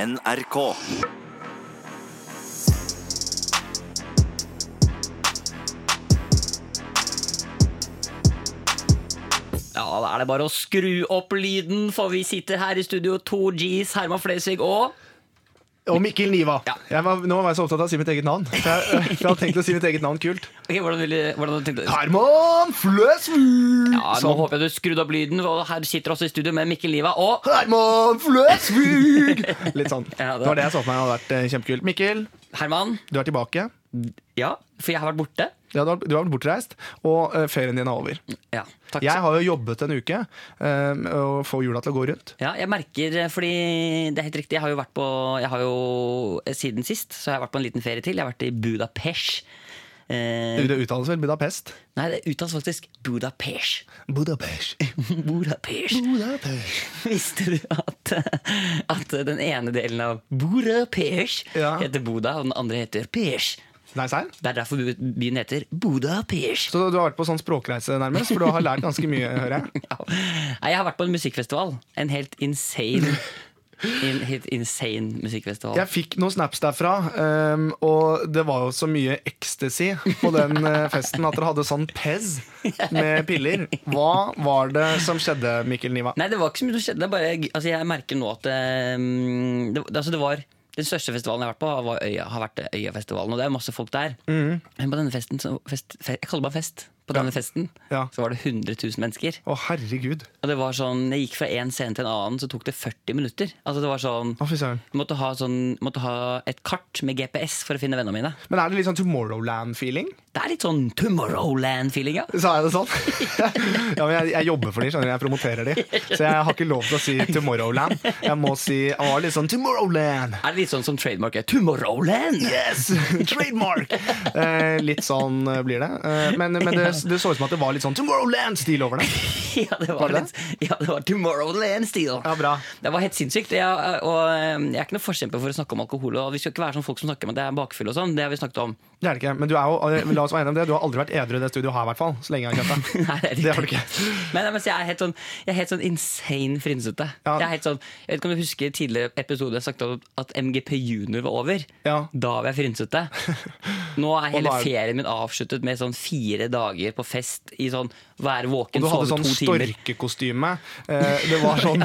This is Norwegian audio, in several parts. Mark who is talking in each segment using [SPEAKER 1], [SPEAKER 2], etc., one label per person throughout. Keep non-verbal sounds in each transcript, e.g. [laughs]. [SPEAKER 1] NRK.
[SPEAKER 2] Ja, da er det bare å skru opp lyden, for vi sitter her i studio 2Gs, Herman Flesvig og
[SPEAKER 3] Og Mikkel Niva.
[SPEAKER 2] Ja.
[SPEAKER 3] Jeg var, nå var jeg så opptatt av å si mitt eget navn. For jeg, [laughs] for jeg hadde tenkt å si mitt eget navn kult.
[SPEAKER 2] Ok, hvordan, ville, hvordan tenkte du?
[SPEAKER 3] Herman Flesvig!
[SPEAKER 2] Ja, nå
[SPEAKER 3] Sånn.
[SPEAKER 2] håper jeg du skrudde opp lyden, og her sitter også i studio med Mikkel Niva og
[SPEAKER 3] Herman Flesvig! [laughs] Litt sånn.
[SPEAKER 2] [laughs] Ja, det-
[SPEAKER 3] det var det jeg så for meg hadde vært eh, kjempekult. Mikkel,
[SPEAKER 2] Herman.
[SPEAKER 3] du er tilbake.
[SPEAKER 2] Ja, for jeg har vært borte.
[SPEAKER 3] Ja, du har du har vært bortreist, og eh, ferien din er over.
[SPEAKER 2] Ja, Mm, takk.
[SPEAKER 3] Jeg har jo jobbet en uke eh, med å få jula til å gå rundt.
[SPEAKER 2] Ja, jeg merker, eh, fordi det er helt riktig, jeg har jo vært på jeg har jo, eh, Siden sist så har jeg vært på en liten ferie til. Jeg har vært i Budapest. Eh,
[SPEAKER 3] Det uttales vel Budapest?
[SPEAKER 2] nei, det uttales faktisk Budapest. [laughs]
[SPEAKER 3] Budapest.
[SPEAKER 2] Budapest.
[SPEAKER 3] Budapest.
[SPEAKER 2] [laughs] Visste du at, at den ene delen av Budapest
[SPEAKER 3] Ja.
[SPEAKER 2] heter Boda, og den andre heter Pers?
[SPEAKER 3] Nei, serr?
[SPEAKER 2] Det er derfor byen heter Budapest.
[SPEAKER 3] Så du har vært på sånn språkreise nærmest, for du har lært ganske mye, hører jeg.
[SPEAKER 2] [laughs] Ja. Nei, Jeg har vært på en musikkfestival. En helt insane
[SPEAKER 3] [laughs]
[SPEAKER 2] en helt insane musikkfestival.
[SPEAKER 3] Jeg fikk noen snaps derfra, ehm, og det var jo så mye ecstasy på den eh, festen at dere hadde sånn pez med piller. Hva var det som skjedde, Mikkel Niva?
[SPEAKER 2] Nei, det var ikke så mye som skjedde. Det er bare, altså, jeg merker nå at eh, det, altså, det var den største festivalen jeg har vært på, var Øya, har vært Øyafestivalen. Og det er masse folk der. Men på denne festen, så, fest, fe- jeg kaller det bare fest, på denne festen
[SPEAKER 3] Mm. Ja.
[SPEAKER 2] så var det 100 000 mennesker.
[SPEAKER 3] Å, herregud.
[SPEAKER 2] Og det var sånn, Jeg gikk fra én scene til en annen, så tok det 40 minutter. Altså det var sånn
[SPEAKER 3] Å, fy søren.
[SPEAKER 2] jeg måtte ha, sånn, måtte ha et kart med GPS for å finne vennene mine.
[SPEAKER 3] Men er det litt sånn Tomorrowland-feeling?
[SPEAKER 2] Det er litt sånn Tomorrowland-feeling, ja.
[SPEAKER 3] Sa jeg det sånn? [laughs] ja, men jeg, jeg jobber for de, skjønner du. Jeg promoterer de. Så jeg har ikke lov til å si Tomorrowland. Jeg må si jeg var litt sånn Tomorrowland.
[SPEAKER 2] Er det litt sånn som trademarket? Tomorrowland!
[SPEAKER 3] Yes! Trademark! Eh, litt sånn eh, blir det. Eh, men men det, det så ut som at det var litt sånn Tomorrowland-stil over det.
[SPEAKER 2] [laughs] ja, det var,
[SPEAKER 3] Var det?
[SPEAKER 2] litt Ja, det var Tomorrowland-stil.
[SPEAKER 3] Ja, bra.
[SPEAKER 2] Det var helt sinnssykt. Jeg, og eh, jeg er ikke noen forkjemper for å snakke om alkohol. Og vi skal ikke være sånn folk som snakker om at det er bakfyll og sånn. Det har vi snakket om.
[SPEAKER 3] Det er det ikke, men du er jo, eh, la oss være enige om det. Du har aldri vært edru i det studioet her, i hvert fall. Så lenge jeg har kjent deg.
[SPEAKER 2] [laughs] Nei, det er
[SPEAKER 3] Det har du ikke.
[SPEAKER 2] Men, nei, men så jeg, er helt sånn, jeg er helt sånn insane frynsete.
[SPEAKER 3] Ja.
[SPEAKER 2] Jeg, er helt sånn, jeg vet ikke om du husker tidligere episode jeg snakket om at MGP Junior var over.
[SPEAKER 3] Ja.
[SPEAKER 2] Da var jeg frynsete. [laughs]
[SPEAKER 3] [laughs]
[SPEAKER 2] Nå er hele
[SPEAKER 3] da er-
[SPEAKER 2] ferien min avsluttet med sånn fire dager på fest i sånn være
[SPEAKER 3] Og
[SPEAKER 2] våken,
[SPEAKER 3] du hadde
[SPEAKER 2] sove
[SPEAKER 3] sånn
[SPEAKER 2] to timer.
[SPEAKER 3] storkekostyme. Eh, Det var sånn,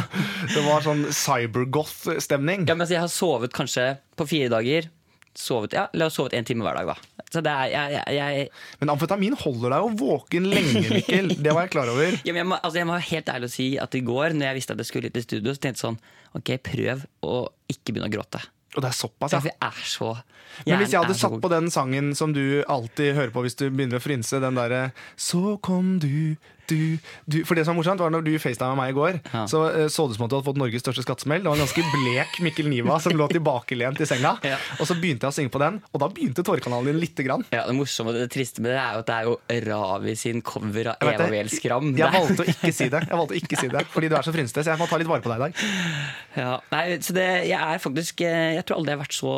[SPEAKER 3] det var sånn cybergoth-stemning.
[SPEAKER 2] Ja, men altså, jeg har sovet kanskje på fire dager. Sovet, ja, La oss sovet én time hver dag, da. Så det er, jeg, jeg, jeg,
[SPEAKER 3] Men amfetamin holder deg jo våken lenge, Mikkel. Det var jeg klar over.
[SPEAKER 2] Ja, men jeg, må, altså jeg må være helt ærlig og si at i går Når jeg visste at jeg skulle hit i studio, så tenkte jeg sånn Ok, prøv å ikke begynne å gråte.
[SPEAKER 3] Og det er såpass,
[SPEAKER 2] Ja.
[SPEAKER 3] ja.
[SPEAKER 2] Jeg er så
[SPEAKER 3] Men hvis jeg
[SPEAKER 2] hjernen
[SPEAKER 3] hadde
[SPEAKER 2] er så
[SPEAKER 3] satt
[SPEAKER 2] god.
[SPEAKER 3] på den sangen som du alltid hører på hvis du begynner å frynse, den derre Så kom du, du, du For det som var morsomt, var når du facetimet meg i går,
[SPEAKER 2] Ja.
[SPEAKER 3] så eh, så det ut som at du hadde fått Norges største skattesmell. Det var en ganske blek Mikkel Niva som lå tilbakelent i senga.
[SPEAKER 2] [laughs] Ja.
[SPEAKER 3] Og så begynte jeg å synge på den, og da begynte tårekanalen din lite grann.
[SPEAKER 2] ja, Det morsomme og det triste med det er jo at det er jo Ravi sin cover av
[SPEAKER 3] Jeg vet
[SPEAKER 2] Eva
[SPEAKER 3] det.
[SPEAKER 2] Weel Skram.
[SPEAKER 3] Jeg
[SPEAKER 2] Det er-
[SPEAKER 3] valgte å ikke si det, Jeg valgte å ikke si det fordi du er så frynsete, så jeg må ta litt vare på deg i dag.
[SPEAKER 2] [laughs] Ja, nei, så det, jeg er faktisk eh, Jeg tror aldri jeg har vært så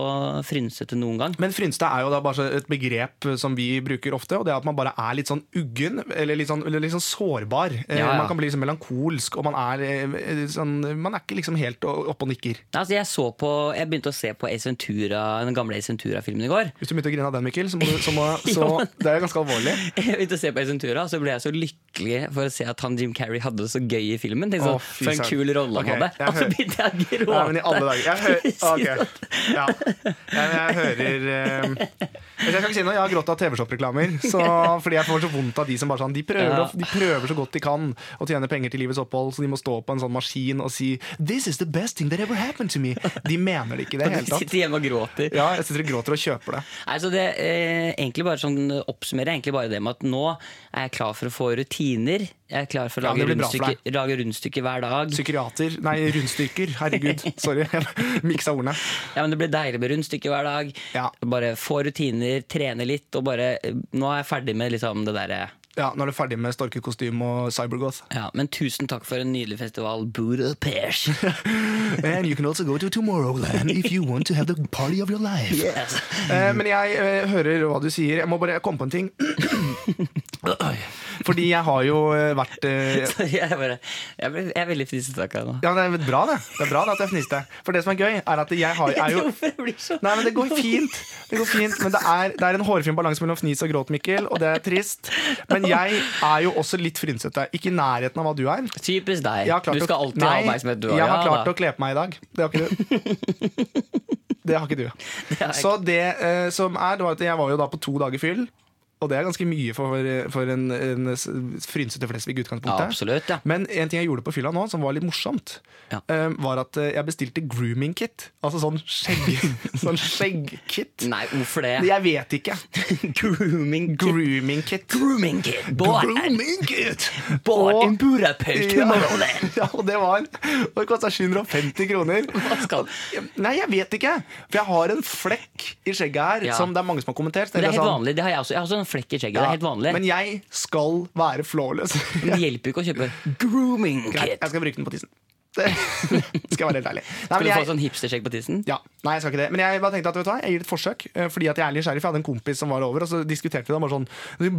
[SPEAKER 2] frynsete noen gang.
[SPEAKER 3] Men frynste er jo da bare så et begrep som vi bruker ofte, og det er at man bare er litt sånn uggen, eller litt sånn, eller litt sånn sårbar. Eh,
[SPEAKER 2] Ja, ja.
[SPEAKER 3] Man kan bli liksom melankolsk, og man er eh, sånn Man er ikke liksom helt oppe og nikker.
[SPEAKER 2] Nei, Altså, jeg, så på, jeg begynte å se på Ace Ventura, den gamle Ace Ventura-filmen i går.
[SPEAKER 3] Hvis du begynte å grine av den, Mikkel, så, må, du- så, må,
[SPEAKER 2] [laughs]
[SPEAKER 3] så det er jo ganske alvorlig.
[SPEAKER 2] Jeg begynte å se på Ace Ventura, og så ble jeg så lykkelig for å se at han Jim Carrey hadde det så gøy i filmen. Tenkte
[SPEAKER 3] Å,
[SPEAKER 2] sånn,
[SPEAKER 3] fy
[SPEAKER 2] for en
[SPEAKER 3] søren.
[SPEAKER 2] kul rolle han
[SPEAKER 3] Ok,
[SPEAKER 2] hadde.
[SPEAKER 3] jeg
[SPEAKER 2] Og så
[SPEAKER 3] hører-
[SPEAKER 2] begynte jeg å
[SPEAKER 3] Nei, men i alle
[SPEAKER 2] gråte. sånn. [laughs]
[SPEAKER 3] dager. Jeg, hø ok. ja. Nei, men jeg hører eh, Jeg skal ikke si noe, jeg har grått av
[SPEAKER 2] [laughs]
[SPEAKER 3] TV-shop-reklamer. så- Fordi jeg får så vondt av de som bare sånn De prøver,
[SPEAKER 2] Ja.
[SPEAKER 3] å- de prøver så godt de kan å tjene penger til livets opphold, så de må stå på en sånn maskin og si This is the best thing that ever happened to me. De mener det ikke i det hele
[SPEAKER 2] Du
[SPEAKER 3] tatt.
[SPEAKER 2] sitter hjemme [laughs] og gråter.
[SPEAKER 3] Ja, jeg sitter og gråter og kjøper det.
[SPEAKER 2] Nei, så det eh, egentlig bare sånn oppsummerer jeg egentlig bare det med at nå er jeg klar for å få rutiner. Jeg er klar for å
[SPEAKER 3] Ja,
[SPEAKER 2] lage,
[SPEAKER 3] det blir bra for
[SPEAKER 2] rundstykker, lage rundstykker hver dag.
[SPEAKER 3] Psykiater Nei, rundstyrker.
[SPEAKER 2] [laughs]
[SPEAKER 3] Herregud. Sorry. [laughs] Miksa ordene.
[SPEAKER 2] Ja, men Det blir deilig med rundstykker hver dag.
[SPEAKER 3] Ja.
[SPEAKER 2] Bare få rutiner, trene litt. Og bare, eh, nå er jeg ferdig med liksom det derre
[SPEAKER 3] Ja, nå er du ferdig med storkekostyme og cybergoth.
[SPEAKER 2] ja, Men tusen takk for en nydelig festival,
[SPEAKER 3] [laughs]
[SPEAKER 2] Budapest.
[SPEAKER 3] And you can also go to Tomorrowland if you want to have the party of your life.
[SPEAKER 2] Yes.
[SPEAKER 3] Eh, men jeg eh, hører hva du sier. Jeg må bare komme på en ting. [clears throat] Fordi jeg har jo eh, vært eh,
[SPEAKER 2] [laughs] Så jeg, bare, jeg, ble, jeg er veldig fristet akkurat nå.
[SPEAKER 3] Ja, det er bra, det. Det er bra det at jeg fniste. For det som er gøy, er at jeg har, er jo
[SPEAKER 2] [laughs] Hvorfor blir det så
[SPEAKER 3] Nei, men det
[SPEAKER 2] [laughs]
[SPEAKER 3] går fint. Det går fint, Men det er, det er en hårfin balanse mellom fnis og gråt, Mikkel, og det er trist. Men jeg er jo også litt frynsete. Ikke i nærheten av hva du er.
[SPEAKER 2] Typisk deg.
[SPEAKER 3] Jeg har klart
[SPEAKER 2] Du skal alltid
[SPEAKER 3] å,
[SPEAKER 2] ha
[SPEAKER 3] nei,
[SPEAKER 2] oppmerksomhet, du
[SPEAKER 3] Jeg har
[SPEAKER 2] Ja,
[SPEAKER 3] klart
[SPEAKER 2] da.
[SPEAKER 3] å kle på meg i dag. Det har ikke du. Det har
[SPEAKER 2] [laughs]
[SPEAKER 3] ikke du.
[SPEAKER 2] har jeg
[SPEAKER 3] Så det eh, som er, det var at jeg var jo da på to dager fyll. Og det er ganske mye for, for en, en s- frynsete Flesvig i
[SPEAKER 2] ja,
[SPEAKER 3] utgangspunktet.
[SPEAKER 2] Absolutt, ja.
[SPEAKER 3] Men en ting jeg gjorde på fylla nå, som var litt morsomt,
[SPEAKER 2] Ja.
[SPEAKER 3] eh, var at eh, jeg bestilte grooming kit. Altså sånn
[SPEAKER 2] [laughs]
[SPEAKER 3] skjegg Sånn skjeggkit.
[SPEAKER 2] [laughs] Nei, hvorfor det?
[SPEAKER 3] Jeg vet ikke.
[SPEAKER 2] [laughs] Grooming kid.
[SPEAKER 3] Grooming kit.
[SPEAKER 2] Grooming kid. Bought
[SPEAKER 3] Grooming kit!
[SPEAKER 2] bought
[SPEAKER 3] Og-
[SPEAKER 2] in Budapest
[SPEAKER 3] Ja.
[SPEAKER 2] tomorrowland.
[SPEAKER 3] [laughs] ja, og det var Og det kosta 750 kroner.
[SPEAKER 2] [laughs] Hva skal
[SPEAKER 3] Nei, jeg vet ikke. For jeg har en flekk i skjegget her
[SPEAKER 2] Ja.
[SPEAKER 3] som det er mange som har kommentert. så
[SPEAKER 2] Men det er
[SPEAKER 3] jeg
[SPEAKER 2] helt
[SPEAKER 3] sånn,
[SPEAKER 2] vanlig. Det har jeg også. Jeg har også en flekk i skjegget. Det
[SPEAKER 3] ja,
[SPEAKER 2] er helt vanlig.
[SPEAKER 3] Men jeg skal være flawless. [laughs]
[SPEAKER 2] Men det hjelper jo ikke å kjøpe grooming
[SPEAKER 3] Jeg,
[SPEAKER 2] kit.
[SPEAKER 3] jeg skal bruke den på tissen. [laughs] Det skal være helt ærlig. Nei, men
[SPEAKER 2] Skal du få
[SPEAKER 3] jeg,
[SPEAKER 2] sånn hipsterskjegg på tissen?
[SPEAKER 3] ja, nei, jeg skal ikke det. Men jeg bare tenkte at vet du hva, jeg gir det et forsøk. eh, Fordi at jeg er nysgjerrig. For jeg hadde en kompis som var over, og så diskuterte vi det. og Bare sånn,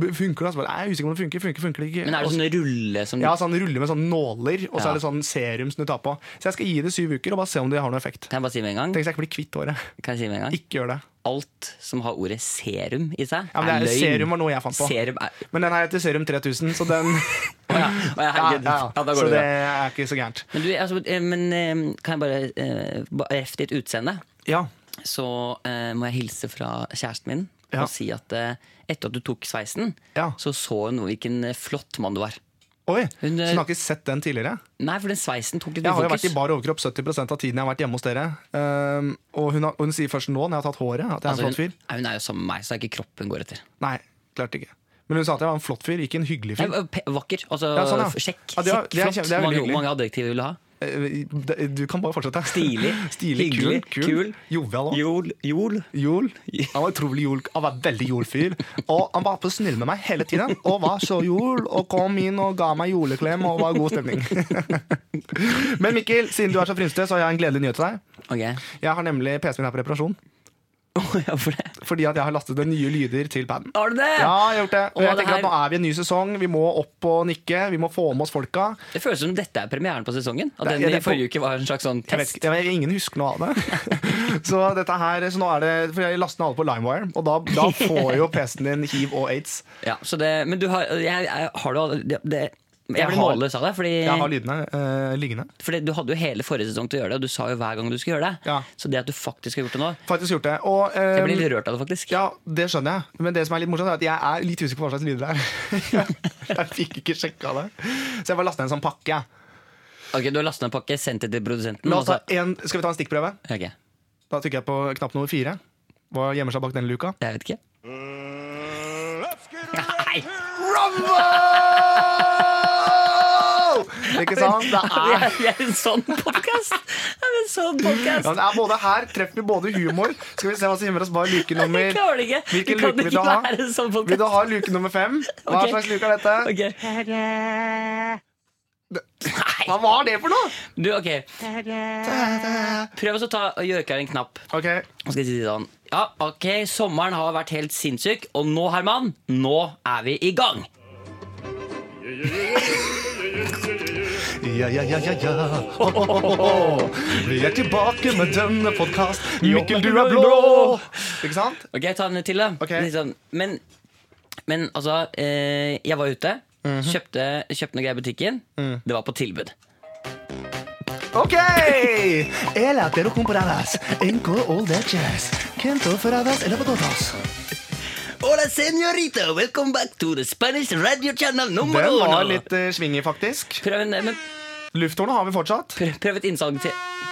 [SPEAKER 3] «Det funker det? Og så bare, «Nei, jeg er usikker på om det funker, funker, funker det ikke?
[SPEAKER 2] Men er
[SPEAKER 3] Og
[SPEAKER 2] det
[SPEAKER 3] så-
[SPEAKER 2] sånn rulle som
[SPEAKER 3] ja, sånn rulle med sånne nåler, og så
[SPEAKER 2] Ja.
[SPEAKER 3] er det sånn serum som du tar på. Så jeg skal gi det syv uker og bare se om det har noe effekt.
[SPEAKER 2] Kan jeg bare si med en gang?
[SPEAKER 3] Tenk hvis jeg ikke blir kvitt håret.
[SPEAKER 2] Kan jeg si med en gang?
[SPEAKER 3] Ikke gjør det.
[SPEAKER 2] Alt som har ordet serum i seg,
[SPEAKER 3] Ja, men det er, serum var noe jeg fant på.
[SPEAKER 2] Serum er
[SPEAKER 3] Men den her heter Serum 3000, så den
[SPEAKER 2] Å ja, [laughs] å ja,
[SPEAKER 3] ja, ja,
[SPEAKER 2] herregud. Ja, da
[SPEAKER 3] ja.
[SPEAKER 2] går
[SPEAKER 3] Så
[SPEAKER 2] det
[SPEAKER 3] det
[SPEAKER 2] bra.
[SPEAKER 3] er ikke så gærent.
[SPEAKER 2] Men, du, altså, eh, men eh, kan jeg bare eh, ba- Ref ditt utseende.
[SPEAKER 3] Ja.
[SPEAKER 2] Så eh, må jeg hilse fra kjæresten min
[SPEAKER 3] Ja.
[SPEAKER 2] og si at eh, etter at du tok sveisen,
[SPEAKER 3] Ja.
[SPEAKER 2] så så hun hvilken eh, flott mann du var.
[SPEAKER 3] Oi,
[SPEAKER 2] Hun,
[SPEAKER 3] så
[SPEAKER 2] eh,
[SPEAKER 3] du har ikke sett den tidligere?
[SPEAKER 2] Nei, for den sveisen tok litt
[SPEAKER 3] Jeg har jo vært
[SPEAKER 2] fokus.
[SPEAKER 3] i bar overkropp 70 av tiden jeg har vært hjemme hos dere. Ehm, og hun, har, og hun sier først nå, når jeg har tatt håret, at jeg
[SPEAKER 2] Altså,
[SPEAKER 3] er en flott
[SPEAKER 2] hun,
[SPEAKER 3] fyr.
[SPEAKER 2] Nei, hun er jo sammen med meg, så det er ikke kroppen hun går etter.
[SPEAKER 3] Nei, klart ikke. Men hun sa at jeg var en flott fyr, ikke en hyggelig
[SPEAKER 2] Nei,
[SPEAKER 3] fyr.
[SPEAKER 2] pe- vakker. Altså,
[SPEAKER 3] Ja, sånn, ja.
[SPEAKER 2] Sjekk.
[SPEAKER 3] Ja,
[SPEAKER 2] sjekk,
[SPEAKER 3] det er- det er
[SPEAKER 2] flott.
[SPEAKER 3] kjempe- det er veldig
[SPEAKER 2] mange,
[SPEAKER 3] hyggelig.
[SPEAKER 2] mange adjektiver vil du ha?
[SPEAKER 3] Eh, det- Du kan bare fortsette.
[SPEAKER 2] Stilig,
[SPEAKER 3] [laughs] Stilig
[SPEAKER 2] hyggelig,
[SPEAKER 3] kul, kul,
[SPEAKER 2] kul.
[SPEAKER 3] jovial også.
[SPEAKER 2] Jol. Jol.
[SPEAKER 3] Jol. Han var utrolig jol. Han var veldig jolfyr. Og han var på snill med meg hele tiden. Og var så jol, og kom inn og ga meg juleklem, og var god stemning. [laughs] Men Mikkel, siden du er så frynsete, så har jeg en gledelig nyhet til deg.
[SPEAKER 2] Ok. [laughs]
[SPEAKER 3] Jeg har nemlig PC-en min her på reparasjon.
[SPEAKER 2] Å, ja, for det.
[SPEAKER 3] Fordi at jeg har lastet ned nye lyder til paden.
[SPEAKER 2] Har du det?
[SPEAKER 3] Ja, jeg har gjort det. Og
[SPEAKER 2] Å, det
[SPEAKER 3] jeg tenker at
[SPEAKER 2] her-
[SPEAKER 3] nå er vi i en ny sesong. Vi må opp og nikke. Vi må få med oss folka.
[SPEAKER 2] Det føles som dette er premieren på sesongen. At
[SPEAKER 3] Det-
[SPEAKER 2] den
[SPEAKER 3] ja,
[SPEAKER 2] i
[SPEAKER 3] det er på-
[SPEAKER 2] forrige uke var en slags sånn
[SPEAKER 3] Jeg vet
[SPEAKER 2] test.
[SPEAKER 3] ikke, jeg, ingen husker noe av det. [laughs] så dette her, så nå er det For jeg laster ned alle på LimeWire, og da,
[SPEAKER 2] [laughs]
[SPEAKER 3] da får jo PC-en din hiv og aids.
[SPEAKER 2] Ja, så det, men du har, jeg, jeg, har du all- det, det, Jeg
[SPEAKER 3] Jeg
[SPEAKER 2] ble
[SPEAKER 3] har-
[SPEAKER 2] målløs av deg, fordi,
[SPEAKER 3] Jeg har lydene eh, liggende.
[SPEAKER 2] fordi du hadde jo hele forrige sesong til å gjøre det, og du sa jo hver gang du skulle gjøre det.
[SPEAKER 3] Ja.
[SPEAKER 2] Så det at du faktisk har gjort det nå
[SPEAKER 3] Faktisk gjort det. Og, eh,
[SPEAKER 2] Jeg blir litt rørt av det, faktisk.
[SPEAKER 3] ja, det skjønner jeg. Men det som er litt morsomt, er at jeg er [laughs] litt usikker på hva slags lyder det er. jeg fikk ikke sjekka det. Så jeg bare lasta ned en sånn pakke. jeg.
[SPEAKER 2] Ok, Du har lastet ned en pakke, sendt det til produsenten.
[SPEAKER 3] La
[SPEAKER 2] Og
[SPEAKER 3] oss ta
[SPEAKER 2] så,
[SPEAKER 3] en, skal vi ta en stikkprøve?
[SPEAKER 2] ok,
[SPEAKER 3] Da trykker jeg på knapp nummer fire. Hva gjemmer seg bak den luka?
[SPEAKER 2] jeg vet ikke. Nei!
[SPEAKER 3] Rumble! Ikke sant? Det
[SPEAKER 2] [laughs] Vi
[SPEAKER 3] er,
[SPEAKER 2] er, vi er en sånn podkast! En sånn podcast.
[SPEAKER 3] ja, det er både her treffer vi både humor. Skal vi se hva som gir oss bare luke
[SPEAKER 2] Jeg
[SPEAKER 3] nummer
[SPEAKER 2] klarer det ikke! Du kan
[SPEAKER 3] Hvilken luke vil du
[SPEAKER 2] ikke
[SPEAKER 3] ha?
[SPEAKER 2] være en sånn
[SPEAKER 3] Vil du
[SPEAKER 2] podcast.
[SPEAKER 3] ha luke nummer fem? Hva
[SPEAKER 2] Ok.
[SPEAKER 3] slags luke er dette?
[SPEAKER 2] Ok.
[SPEAKER 3] Hva var det for noe?
[SPEAKER 2] Du, ok. Prøv også å ta, gjøre klar en knapp.
[SPEAKER 3] Ok,
[SPEAKER 2] Nå skal jeg si det sånn Ja, ok, sommeren har vært helt sinnssyk Og nå, Herman, nå er vi i gang
[SPEAKER 3] Ja, ja, ja, ja, ja. Ho, ho, ho, ho. Vi er tilbake med denne podkast. Mikkel, du er blå! Ikke sant?
[SPEAKER 2] Ok, ta den til da
[SPEAKER 3] Ok.
[SPEAKER 2] Litt sånn. men, men altså, eh, jeg var ute
[SPEAKER 3] Mhm.
[SPEAKER 2] kjøpte, kjøpte noe greier i butikken
[SPEAKER 3] Mm.
[SPEAKER 2] Det var på tilbud
[SPEAKER 3] Ok! Ela te lo comprarás. Enco all that jazz. Kento ferradas eller patatas.
[SPEAKER 2] Hola, señorita, welcome back to the Spanish radio channel nummer
[SPEAKER 3] Den var
[SPEAKER 2] uno.
[SPEAKER 3] litt eh, swingy, faktisk.
[SPEAKER 2] prøv, en, men,
[SPEAKER 3] Lufthornet har vi fortsatt.
[SPEAKER 2] prøv, prøv et innsalg til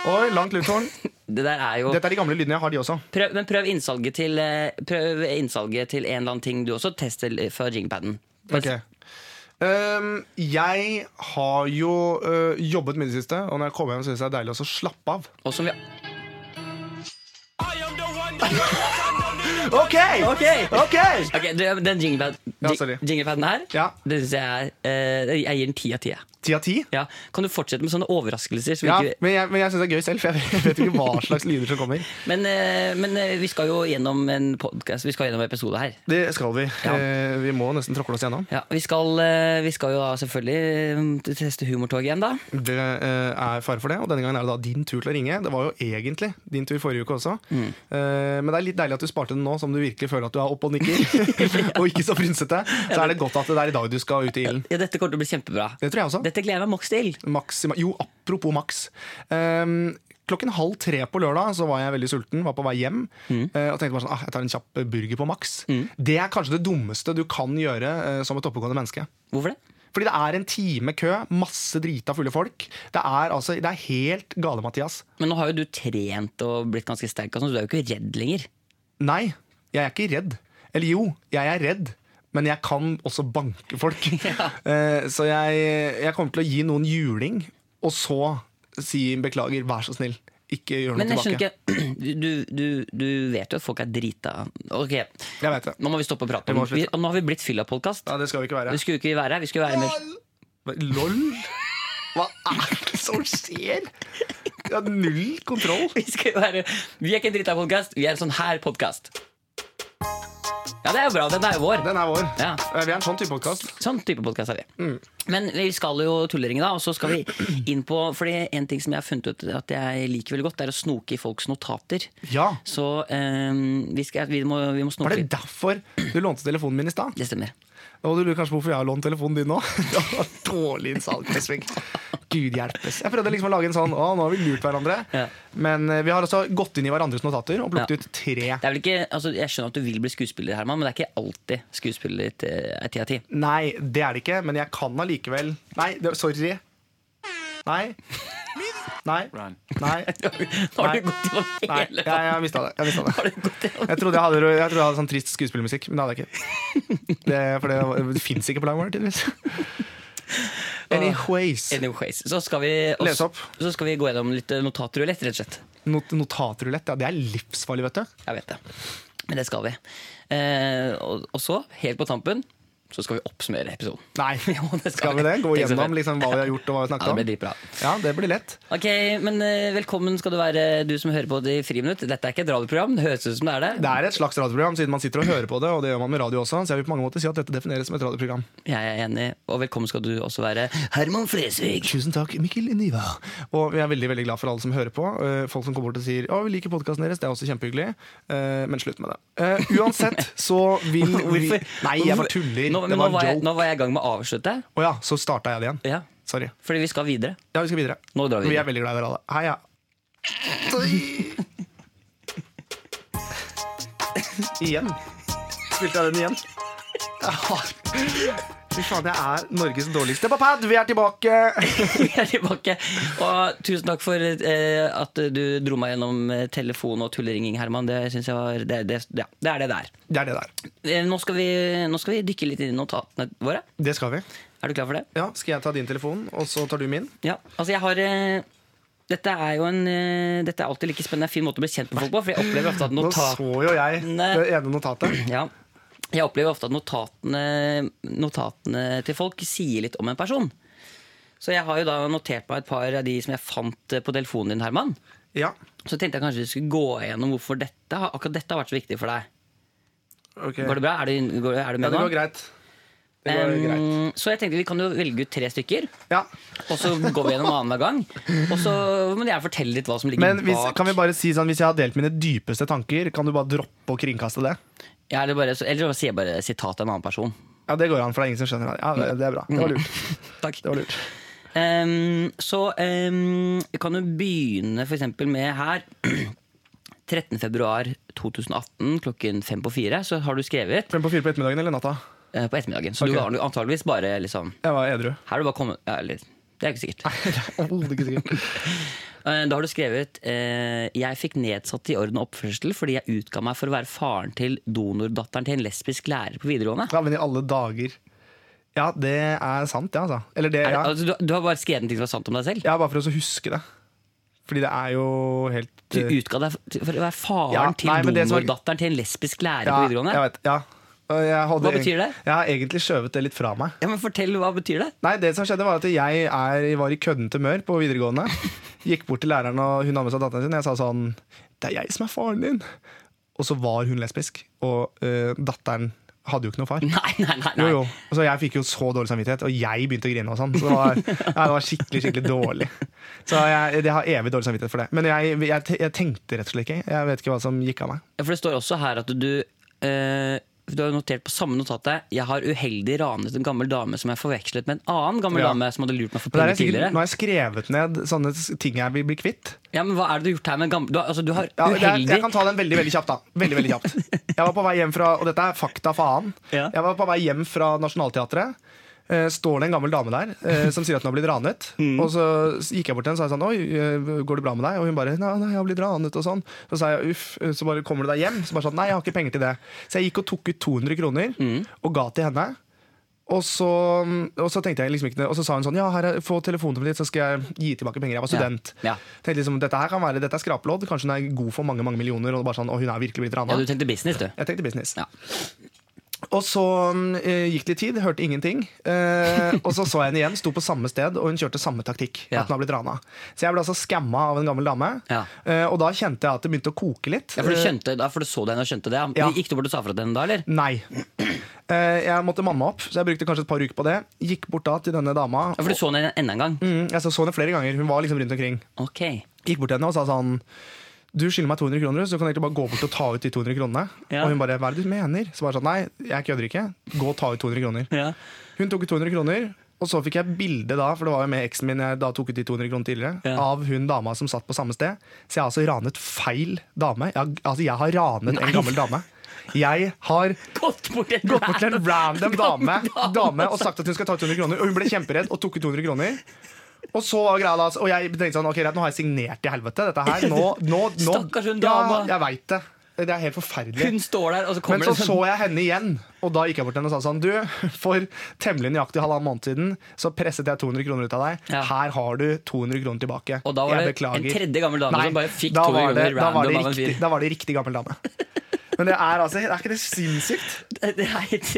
[SPEAKER 3] Oi, langt lufthorn.
[SPEAKER 2] Det der er jo
[SPEAKER 3] Dette er de gamle lydene. Jeg har de også.
[SPEAKER 2] prøv, Men prøv innsalget til eh, Prøv innsalget til en eller annen ting du også Test det fra jingpadden
[SPEAKER 3] Ok. Ehm, jeg har jo øh, jobbet mye i det siste, og når jeg kommer hjem, syns jeg det er deilig også å slappe av.
[SPEAKER 2] Og som vi
[SPEAKER 3] OK!
[SPEAKER 2] Ok.
[SPEAKER 3] Ok!
[SPEAKER 2] Ok, du, den jinglepaden
[SPEAKER 3] Ja, sorry.
[SPEAKER 2] Jinglepaden her,
[SPEAKER 3] Ja.
[SPEAKER 2] det synes jeg er eh, Jeg gir den ti av ti. jeg.
[SPEAKER 3] Ti av ti?
[SPEAKER 2] Ja. Kan du fortsette med sånne overraskelser? Som
[SPEAKER 3] Ja,
[SPEAKER 2] ikke,
[SPEAKER 3] men jeg, men jeg syns det er gøy selv, for jeg vet ikke hva slags lyder som kommer.
[SPEAKER 2] men, eh, men eh, vi skal jo gjennom en podcast, vi skal gjennom en episode her.
[SPEAKER 3] Det skal vi.
[SPEAKER 2] Ja.
[SPEAKER 3] Eh, Vi må nesten tråkle oss gjennom.
[SPEAKER 2] Ja, vi, skal, eh, vi skal jo da selvfølgelig eh, teste humortoget igjen, da.
[SPEAKER 3] Det eh, er fare for det, og denne gangen er det da din tur til å ringe. Det var jo egentlig din tur forrige uke også. Eh, Men det er litt deilig at du sparte den nå som du virkelig føler at du er oppe og [laughs] nikker. og ikke så frynsete. Så er det godt at det er i dag du skal ut i ilden.
[SPEAKER 2] Ja, dette kommer til å bli kjempebra.
[SPEAKER 3] Det tror jeg også.
[SPEAKER 2] Dette gleder jeg meg maks til.
[SPEAKER 3] Maxima, jo, apropos Max. Ehm, klokken halv tre på lørdag så var jeg veldig sulten, var på vei hjem. eh, og tenkte bare sånn, ah, jeg tar en kjapp burger på Max. Det er kanskje det dummeste du kan gjøre eh, som et oppegående menneske.
[SPEAKER 2] Hvorfor det?
[SPEAKER 3] Fordi det er en time kø, masse drita fulle folk. Det er, altså, det er helt gale, Mathias.
[SPEAKER 2] Men nå har jo du trent og blitt ganske sterk, og sånn, så du er jo ikke redd lenger.
[SPEAKER 3] Nei, jeg er ikke redd. Eller jo, jeg er redd. Men jeg kan også banke
[SPEAKER 2] [laughs]
[SPEAKER 3] folk. Eh, Så jeg, jeg kommer til å gi noen juling, og så si beklager, vær så snill. Ikke gjør noe
[SPEAKER 2] Men jeg
[SPEAKER 3] tilbake.
[SPEAKER 2] skjønner ikke [clears throat] du, du, du vet jo at folk er drita. Ok,
[SPEAKER 3] Jeg vet det.
[SPEAKER 2] nå må vi stoppe å prate.
[SPEAKER 3] Vi
[SPEAKER 2] Om.
[SPEAKER 3] må
[SPEAKER 2] Vi,
[SPEAKER 3] slutte.
[SPEAKER 2] nå har vi blitt fylla-podkast.
[SPEAKER 3] Ja, det skal vi ikke være.
[SPEAKER 2] Vi skulle jo ikke være her. Vi skulle være med
[SPEAKER 3] LOL? Hva er det som skjer? Jeg har null kontroll.
[SPEAKER 2] Vi, skulle være, vi er ikke en drita-podkast, vi er en sånn her podkast. Ja, det er jo bra. Den er jo vår.
[SPEAKER 3] Den er vår.
[SPEAKER 2] Ja.
[SPEAKER 3] Eh, Vi er en sånn type podkast.
[SPEAKER 2] Sånn type podkast er vi.
[SPEAKER 3] Mm.
[SPEAKER 2] Men vi skal jo tulleringe, da. Og så skal vi inn på Fordi en ting som jeg har funnet ut at jeg liker veldig godt, det er å snoke i folks notater.
[SPEAKER 3] Ja.
[SPEAKER 2] Så eh, vi, skal, vi, må, vi må
[SPEAKER 3] Var
[SPEAKER 2] snoke.
[SPEAKER 3] det derfor du lånte telefonen min i stad?
[SPEAKER 2] Det stemmer.
[SPEAKER 3] Og du lurer kanskje på hvorfor jeg har lånt telefonen din nå? [laughs] Det var Dårlig innsalgsving. Gud hjelpes. Jeg prøvde liksom å lage en sånn Å, nå har vi lurt hverandre.
[SPEAKER 2] Ja.
[SPEAKER 3] Men eh, vi har altså gått inn i hverandres notater og
[SPEAKER 2] Ja.
[SPEAKER 3] plukket ut tre.
[SPEAKER 2] Det er vel ikke, altså Jeg skjønner at du vil bli skuespiller, Herman, men det er ikke alltid skuespiller til- er ti av ti. [laughs]
[SPEAKER 3] Nei, det er det ikke, men jeg kan allikevel Nei, det, sorry. Nei. Nei. Nei.
[SPEAKER 2] [laughs] Nå har du gått gjennom
[SPEAKER 3] Nei.
[SPEAKER 2] hele
[SPEAKER 3] Jeg, jeg mista det. Jeg, mistet det.
[SPEAKER 2] Har du gått gjennom-
[SPEAKER 3] jeg trodde jeg hadde, jeg trodde jeg hadde sånn trist skuespillmusikk, men det hadde jeg ikke.
[SPEAKER 2] [laughs]
[SPEAKER 3] Det, for det, var- det fins ikke på Langmore, tydeligvis. Anyways.
[SPEAKER 2] Anyways, så skal vi
[SPEAKER 3] Les opp.
[SPEAKER 2] Så skal vi gå gjennom litt notatrulett, rett og slett.
[SPEAKER 3] Not notatrulett, ja, det er livsfarlig, vet du.
[SPEAKER 2] Jeg vet det. Men det skal vi. Eh, og, og så, helt på tampen, så skal vi oppsummere episoden.
[SPEAKER 3] [laughs] Nei,
[SPEAKER 2] [laughs] Jo, det skal
[SPEAKER 3] skal vi det? Gå
[SPEAKER 2] Tenk så
[SPEAKER 3] gjennom
[SPEAKER 2] fett.
[SPEAKER 3] liksom, hva vi har gjort og hva vi
[SPEAKER 2] Ja, det
[SPEAKER 3] har
[SPEAKER 2] blir
[SPEAKER 3] snakket om?
[SPEAKER 2] dritbra.
[SPEAKER 3] Ja, det blir lett.
[SPEAKER 2] Ok, men eh, Velkommen skal du være, du som hører på det i friminutt. Dette er ikke et radioprogram, det høres ut som det er det.
[SPEAKER 3] Det er et slags radioprogram, siden man sitter og hører på det, og det gjør man med radio også, så jeg vil på mange måter si at dette defineres som et radioprogram.
[SPEAKER 2] Jeg er enig, og velkommen skal du også være Herman
[SPEAKER 3] [laughs]
[SPEAKER 2] Flesvig.
[SPEAKER 3] Tusen takk, Mikkel Niva. Og vi er veldig veldig glad for alle som hører på. Eh, Folk som kommer bort og sier å, vi liker podkasten deres, det er også kjempehyggelig. Eh, Men slutt med det. Eh, Uansett så vil vi
[SPEAKER 2] [laughs] Hvorfor-
[SPEAKER 3] Nei, jeg
[SPEAKER 2] hvorfor-
[SPEAKER 3] bare tuller.
[SPEAKER 2] Nå, men
[SPEAKER 3] Det
[SPEAKER 2] nå,
[SPEAKER 3] var
[SPEAKER 2] var jeg,
[SPEAKER 3] en joke.
[SPEAKER 2] nå var jeg i gang med å avslutte.
[SPEAKER 3] Å ja, så starta jeg det igjen.
[SPEAKER 2] Ja,
[SPEAKER 3] Sorry.
[SPEAKER 2] fordi vi skal videre.
[SPEAKER 3] Ja, vi skal videre.
[SPEAKER 2] Nå drar vi
[SPEAKER 3] Vi er
[SPEAKER 2] videre.
[SPEAKER 3] veldig glad i dere alle. Hei, ja. igjen. Spilte jeg den igjen? Ja. Fy faen, jeg er Norges dårligste på pad! Vi er tilbake!
[SPEAKER 2] [laughs] Vi er tilbake. Og tusen takk for eh, at du dro meg gjennom eh, telefon og tulleringing, Herman. Det synes jeg var det, det, ja, det er det der. Eh,
[SPEAKER 3] Det er det der.
[SPEAKER 2] Nå skal, vi, nå skal vi dykke litt inn i notatene våre.
[SPEAKER 3] Det skal vi.
[SPEAKER 2] Er du klar for det?
[SPEAKER 3] Ja, Skal jeg ta din telefon, og så tar du min?
[SPEAKER 2] Ja, altså jeg har eh, dette er jo en eh, Dette er alltid like spennende fin måte å bli kjent med folk på. For jeg opplever ofte at
[SPEAKER 3] Nå
[SPEAKER 2] notat...
[SPEAKER 3] så jo jeg
[SPEAKER 2] Nei.
[SPEAKER 3] det ene notatet.
[SPEAKER 2] Ja. Jeg opplever ofte at notatene, notatene til folk sier litt om en person. Så jeg har jo da notert meg et par av de som jeg fant eh, på telefonen din, Herman.
[SPEAKER 3] Ja,
[SPEAKER 2] Så tenkte jeg kanskje vi skulle gå igjennom hvorfor dette, har- akkurat dette har vært så viktig for deg.
[SPEAKER 3] ok.
[SPEAKER 2] Går det bra? Er du, går- er du
[SPEAKER 3] Ja,
[SPEAKER 2] med
[SPEAKER 3] det
[SPEAKER 2] nå?
[SPEAKER 3] går greit. Det går
[SPEAKER 2] Em,
[SPEAKER 3] greit.
[SPEAKER 2] så jeg tenkte vi kan jo velge ut tre stykker,
[SPEAKER 3] Ja.
[SPEAKER 2] og så går vi gjennom annenhver gang. Og så må du gjerne fortelle litt hva som ligger
[SPEAKER 3] Men hvis,
[SPEAKER 2] bak.
[SPEAKER 3] kan vi bare si sånn, hvis jeg har delt mine dypeste tanker, kan du bare droppe å kringkaste det?
[SPEAKER 2] ja, eller, bare, så- eller så sier jeg bare sitat av en annen person.
[SPEAKER 3] Ja, det går an, for det er ingen som skjønner det. Ja, det, det er bra. Det var lurt.
[SPEAKER 2] Takk.
[SPEAKER 3] Det var lurt.
[SPEAKER 2] Em, så em, vi kan jo begynne for eksempel med her. [clears throat] 13. februar 2018 klokken fem på fire så har du skrevet
[SPEAKER 3] Frem på fire på ettermiddagen eller natta?
[SPEAKER 2] eh, på ettermiddagen. Så du
[SPEAKER 3] Ok.
[SPEAKER 2] har antageligvis bare liksom
[SPEAKER 3] Jeg var edru.
[SPEAKER 2] Her har du bare kommet ja, eller, Det er ikke sikkert.
[SPEAKER 3] Overhodet ikke sikkert.
[SPEAKER 2] Eh, Da har du skrevet eh, Jeg fikk nedsatt i orden og oppførsel fordi jeg utga meg for å være faren til donordatteren til en lesbisk lærer på videregående.
[SPEAKER 3] Ja, men i alle dager. Ja, det er sant, ja, altså. Eller det,
[SPEAKER 2] Er,
[SPEAKER 3] ja.
[SPEAKER 2] altså, du, du har bare skrevet en ting som er sant om deg selv.
[SPEAKER 3] Ja, bare for å huske det. Fordi det er jo helt
[SPEAKER 2] Du
[SPEAKER 3] eh,
[SPEAKER 2] utga deg for for å være faren
[SPEAKER 3] Ja,
[SPEAKER 2] til
[SPEAKER 3] nei, men det som er-
[SPEAKER 2] donordatteren til en lesbisk lærer
[SPEAKER 3] ja,
[SPEAKER 2] på
[SPEAKER 3] jeg
[SPEAKER 2] videregående.
[SPEAKER 3] vet, ja. Og jeg hadde
[SPEAKER 2] Hva betyr det?
[SPEAKER 3] eg- Jeg har egentlig skjøvet det litt fra meg.
[SPEAKER 2] Ja, men Fortell, hva betyr det? [laughs]
[SPEAKER 3] Nei, det som skjedde var at jeg er, var i køddent humør på videregående. Gikk bort til læreren, og hun har med seg datteren sin. Og jeg sa sånn Det er jeg som er faren din. Og så var hun lesbisk, og eh, datteren hadde jo ikke noe far.
[SPEAKER 2] Nei, nei, nei.
[SPEAKER 3] Jo,
[SPEAKER 2] nei.
[SPEAKER 3] jo. Og Så jeg fikk jo så dårlig samvittighet, og jeg begynte å grine. og sånn Så det var, ja, det var skikkelig skikkelig dårlig. Så jeg, jeg har evig dårlig samvittighet for det. Men jeg, jeg, te- jeg tenkte rett og slett ikke. Jeg vet ikke hva som gikk av meg.
[SPEAKER 2] Ja, For det står også her at du eh, Du har notert på samme notatet Jeg har uheldig ranet en gammel dame som er forvekslet med en annen gammel
[SPEAKER 3] Ja.
[SPEAKER 2] dame som hadde lurt meg for
[SPEAKER 3] Men
[SPEAKER 2] penger
[SPEAKER 3] der er jeg sikkert, nå
[SPEAKER 2] tidligere.
[SPEAKER 3] har jeg skrevet ned sånne s- ting jeg vil bli kvitt.
[SPEAKER 2] Ja, men Hva er det du har gjort her med en gammel Du har, altså, du har
[SPEAKER 3] Ja, det er,
[SPEAKER 2] uheldig
[SPEAKER 3] jeg kan ta den veldig veldig kjapt. da Veldig, veldig kjapt Jeg var på vei hjem fra Og dette er fakta faen.
[SPEAKER 2] Ja.
[SPEAKER 3] Jeg var på vei hjem fra Nationaltheatret. Eh, Står det en gammel dame der eh, som sier at hun har blitt ranet.
[SPEAKER 2] [laughs] Mm.
[SPEAKER 3] Og så gikk jeg bort til henne og sa jeg sånn Oi, eh, går det bra med deg? Og hun bare Nei, nei jeg har blitt ranet og sånn. Så sa jeg uff, eh, så bare kommer du deg hjem? Så bare sånn Nei, jeg har ikke penger til det. Så jeg gikk og tok ut 200 kroner
[SPEAKER 2] Mm.
[SPEAKER 3] og ga til henne. Og så, og så tenkte jeg liksom ikke Og så sa hun sånn Ja, her er, få telefonnummeret ditt, så skal jeg gi tilbake penger. Jeg var student.
[SPEAKER 2] Ja.
[SPEAKER 3] Tenkte liksom, dette her kan være, dette er skrapelodd. Kanskje hun er god for mange mange millioner. Og bare sånn, og hun er virkelig blitt
[SPEAKER 2] Ja,
[SPEAKER 3] rana.
[SPEAKER 2] Du tenkte business, du.
[SPEAKER 3] Jeg tenkte business.
[SPEAKER 2] Ja.
[SPEAKER 3] Og så mm, eh, gikk det litt tid, hørte ingenting. Eh, og så så jeg henne igjen, sto på samme sted, og hun kjørte samme taktikk.
[SPEAKER 2] Ja.
[SPEAKER 3] At hun har blitt rana. Så jeg ble altså skamma av en gammel dame.
[SPEAKER 2] Ja.
[SPEAKER 3] Eh, og da kjente jeg at det begynte å koke litt.
[SPEAKER 2] Ja, for, du
[SPEAKER 3] Eh,
[SPEAKER 2] skjønte, da, for du så det henne og skjønte det? ja.
[SPEAKER 3] Ja.
[SPEAKER 2] Gikk du bort og sa fra til henne da, eller?
[SPEAKER 3] Nei. Eh, jeg måtte manne meg opp, så jeg brukte kanskje et par uker på det. Gikk bort da til denne dama.
[SPEAKER 2] Ja, for du så henne enda en gang?
[SPEAKER 3] Mm, jeg så, så henne flere ganger. Hun var liksom rundt omkring.
[SPEAKER 2] Ok.
[SPEAKER 3] Gikk bort til henne og sa sånn Du skylder meg 200 kroner, så du kan egentlig bare gå bort og ta ut de 200 kronene.
[SPEAKER 2] Ja.
[SPEAKER 3] Og hun bare Hva er det du mener? Så bare sånn Nei, jeg kødder ikke. Gå og ta ut 200 kroner.
[SPEAKER 2] Ja.
[SPEAKER 3] Hun tok ut 200 kroner. Og så fikk jeg bilde, da, for det var jo med eksen min jeg da tok ut de 200 kronene tidligere,
[SPEAKER 2] Ja.
[SPEAKER 3] av hun dama som satt på samme sted. Så jeg har altså ranet feil dame. Jeg, har- altså, jeg har ranet
[SPEAKER 2] Nei.
[SPEAKER 3] en gammel dame. Jeg har
[SPEAKER 2] Gått bort til
[SPEAKER 3] gått
[SPEAKER 2] [laughs]
[SPEAKER 3] bort til en random dame,
[SPEAKER 2] Gammel
[SPEAKER 3] dame og sagt at hun skal ta 200 kroner. Og hun ble kjemperedd og tok ut 200 kroner. Og så var greia da, og jeg tenkte sånn, ok, greit, nå har jeg signert i helvete dette her. Nå, nå, nå,
[SPEAKER 2] Stakkars hun dama.
[SPEAKER 3] Ja, jeg vet det. Det er helt forferdelig.
[SPEAKER 2] Hun sånn- står der, og så
[SPEAKER 3] Men
[SPEAKER 2] kommer
[SPEAKER 3] så
[SPEAKER 2] det en
[SPEAKER 3] så jeg henne igjen, og da gikk jeg bort til henne og sa sånn Du, for temmelig nøyaktig halvannen måned siden så presset jeg 200 kroner ut av deg.
[SPEAKER 2] Ja.
[SPEAKER 3] Her har du 200 kroner tilbake.
[SPEAKER 2] Og da var
[SPEAKER 3] jeg
[SPEAKER 2] det en tredje gammel dame som bare fikk
[SPEAKER 3] da
[SPEAKER 2] 200
[SPEAKER 3] var det-
[SPEAKER 2] kroner
[SPEAKER 3] da var det
[SPEAKER 2] random av en fyr.
[SPEAKER 3] riktig- Da var det riktig gammel dame. Men det er altså, er ikke det sinnssykt?
[SPEAKER 2] [laughs] sånn Det er helt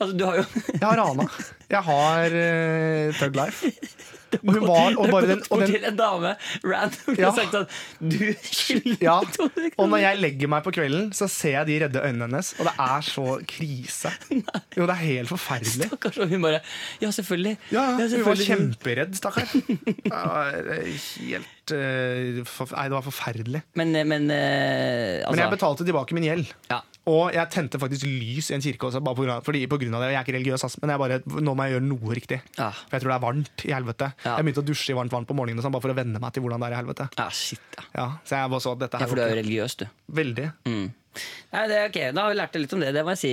[SPEAKER 2] Altså, du har jo
[SPEAKER 3] Jeg har rana. Jeg har uh, Thug Life.
[SPEAKER 2] [laughs]
[SPEAKER 3] Og hun var [laughs] og
[SPEAKER 2] Du har
[SPEAKER 3] bare den,
[SPEAKER 2] gått
[SPEAKER 3] og
[SPEAKER 2] bort
[SPEAKER 3] den
[SPEAKER 2] til en dame random
[SPEAKER 3] Ja.
[SPEAKER 2] og sagt at du skylder [laughs]
[SPEAKER 3] ja.
[SPEAKER 2] 200
[SPEAKER 3] Og
[SPEAKER 2] kroner.
[SPEAKER 3] når jeg legger meg på kvelden, så ser jeg de redde øynene hennes, og det er så krise. Jo, det er helt forferdelig.
[SPEAKER 2] Stakkars, og hun bare Ja, selvfølgelig.
[SPEAKER 3] Ja, ja, hun var
[SPEAKER 2] selvfølgelig.
[SPEAKER 3] kjemperedd, stakkar. Det var Helt eh, forf- Nei, det var forferdelig.
[SPEAKER 2] Men, men eh, altså,
[SPEAKER 3] Men jeg betalte tilbake min gjeld.
[SPEAKER 2] ja.
[SPEAKER 3] Og jeg tente faktisk lys i en kirke også, bare på grunn av, fordi, på grunn av det. Jeg er ikke religiøs, ass, men jeg bare, nå må jeg gjøre noe riktig.
[SPEAKER 2] Ja.
[SPEAKER 3] For jeg tror det er varmt i helvete.
[SPEAKER 2] Ja.
[SPEAKER 3] Jeg begynte å dusje i varmt vann på morgenen og sånn, bare for å venne meg til hvordan det er i helvete.
[SPEAKER 2] ja, shit, ja.
[SPEAKER 3] Ja, så jeg bare så at dette
[SPEAKER 2] ja.
[SPEAKER 3] her
[SPEAKER 2] For du
[SPEAKER 3] går
[SPEAKER 2] er jo
[SPEAKER 3] ikke.
[SPEAKER 2] religiøs, du. Mm.
[SPEAKER 3] Veldig.
[SPEAKER 2] Nei, det er ok, Da har vi lært litt om det. Det må jeg si.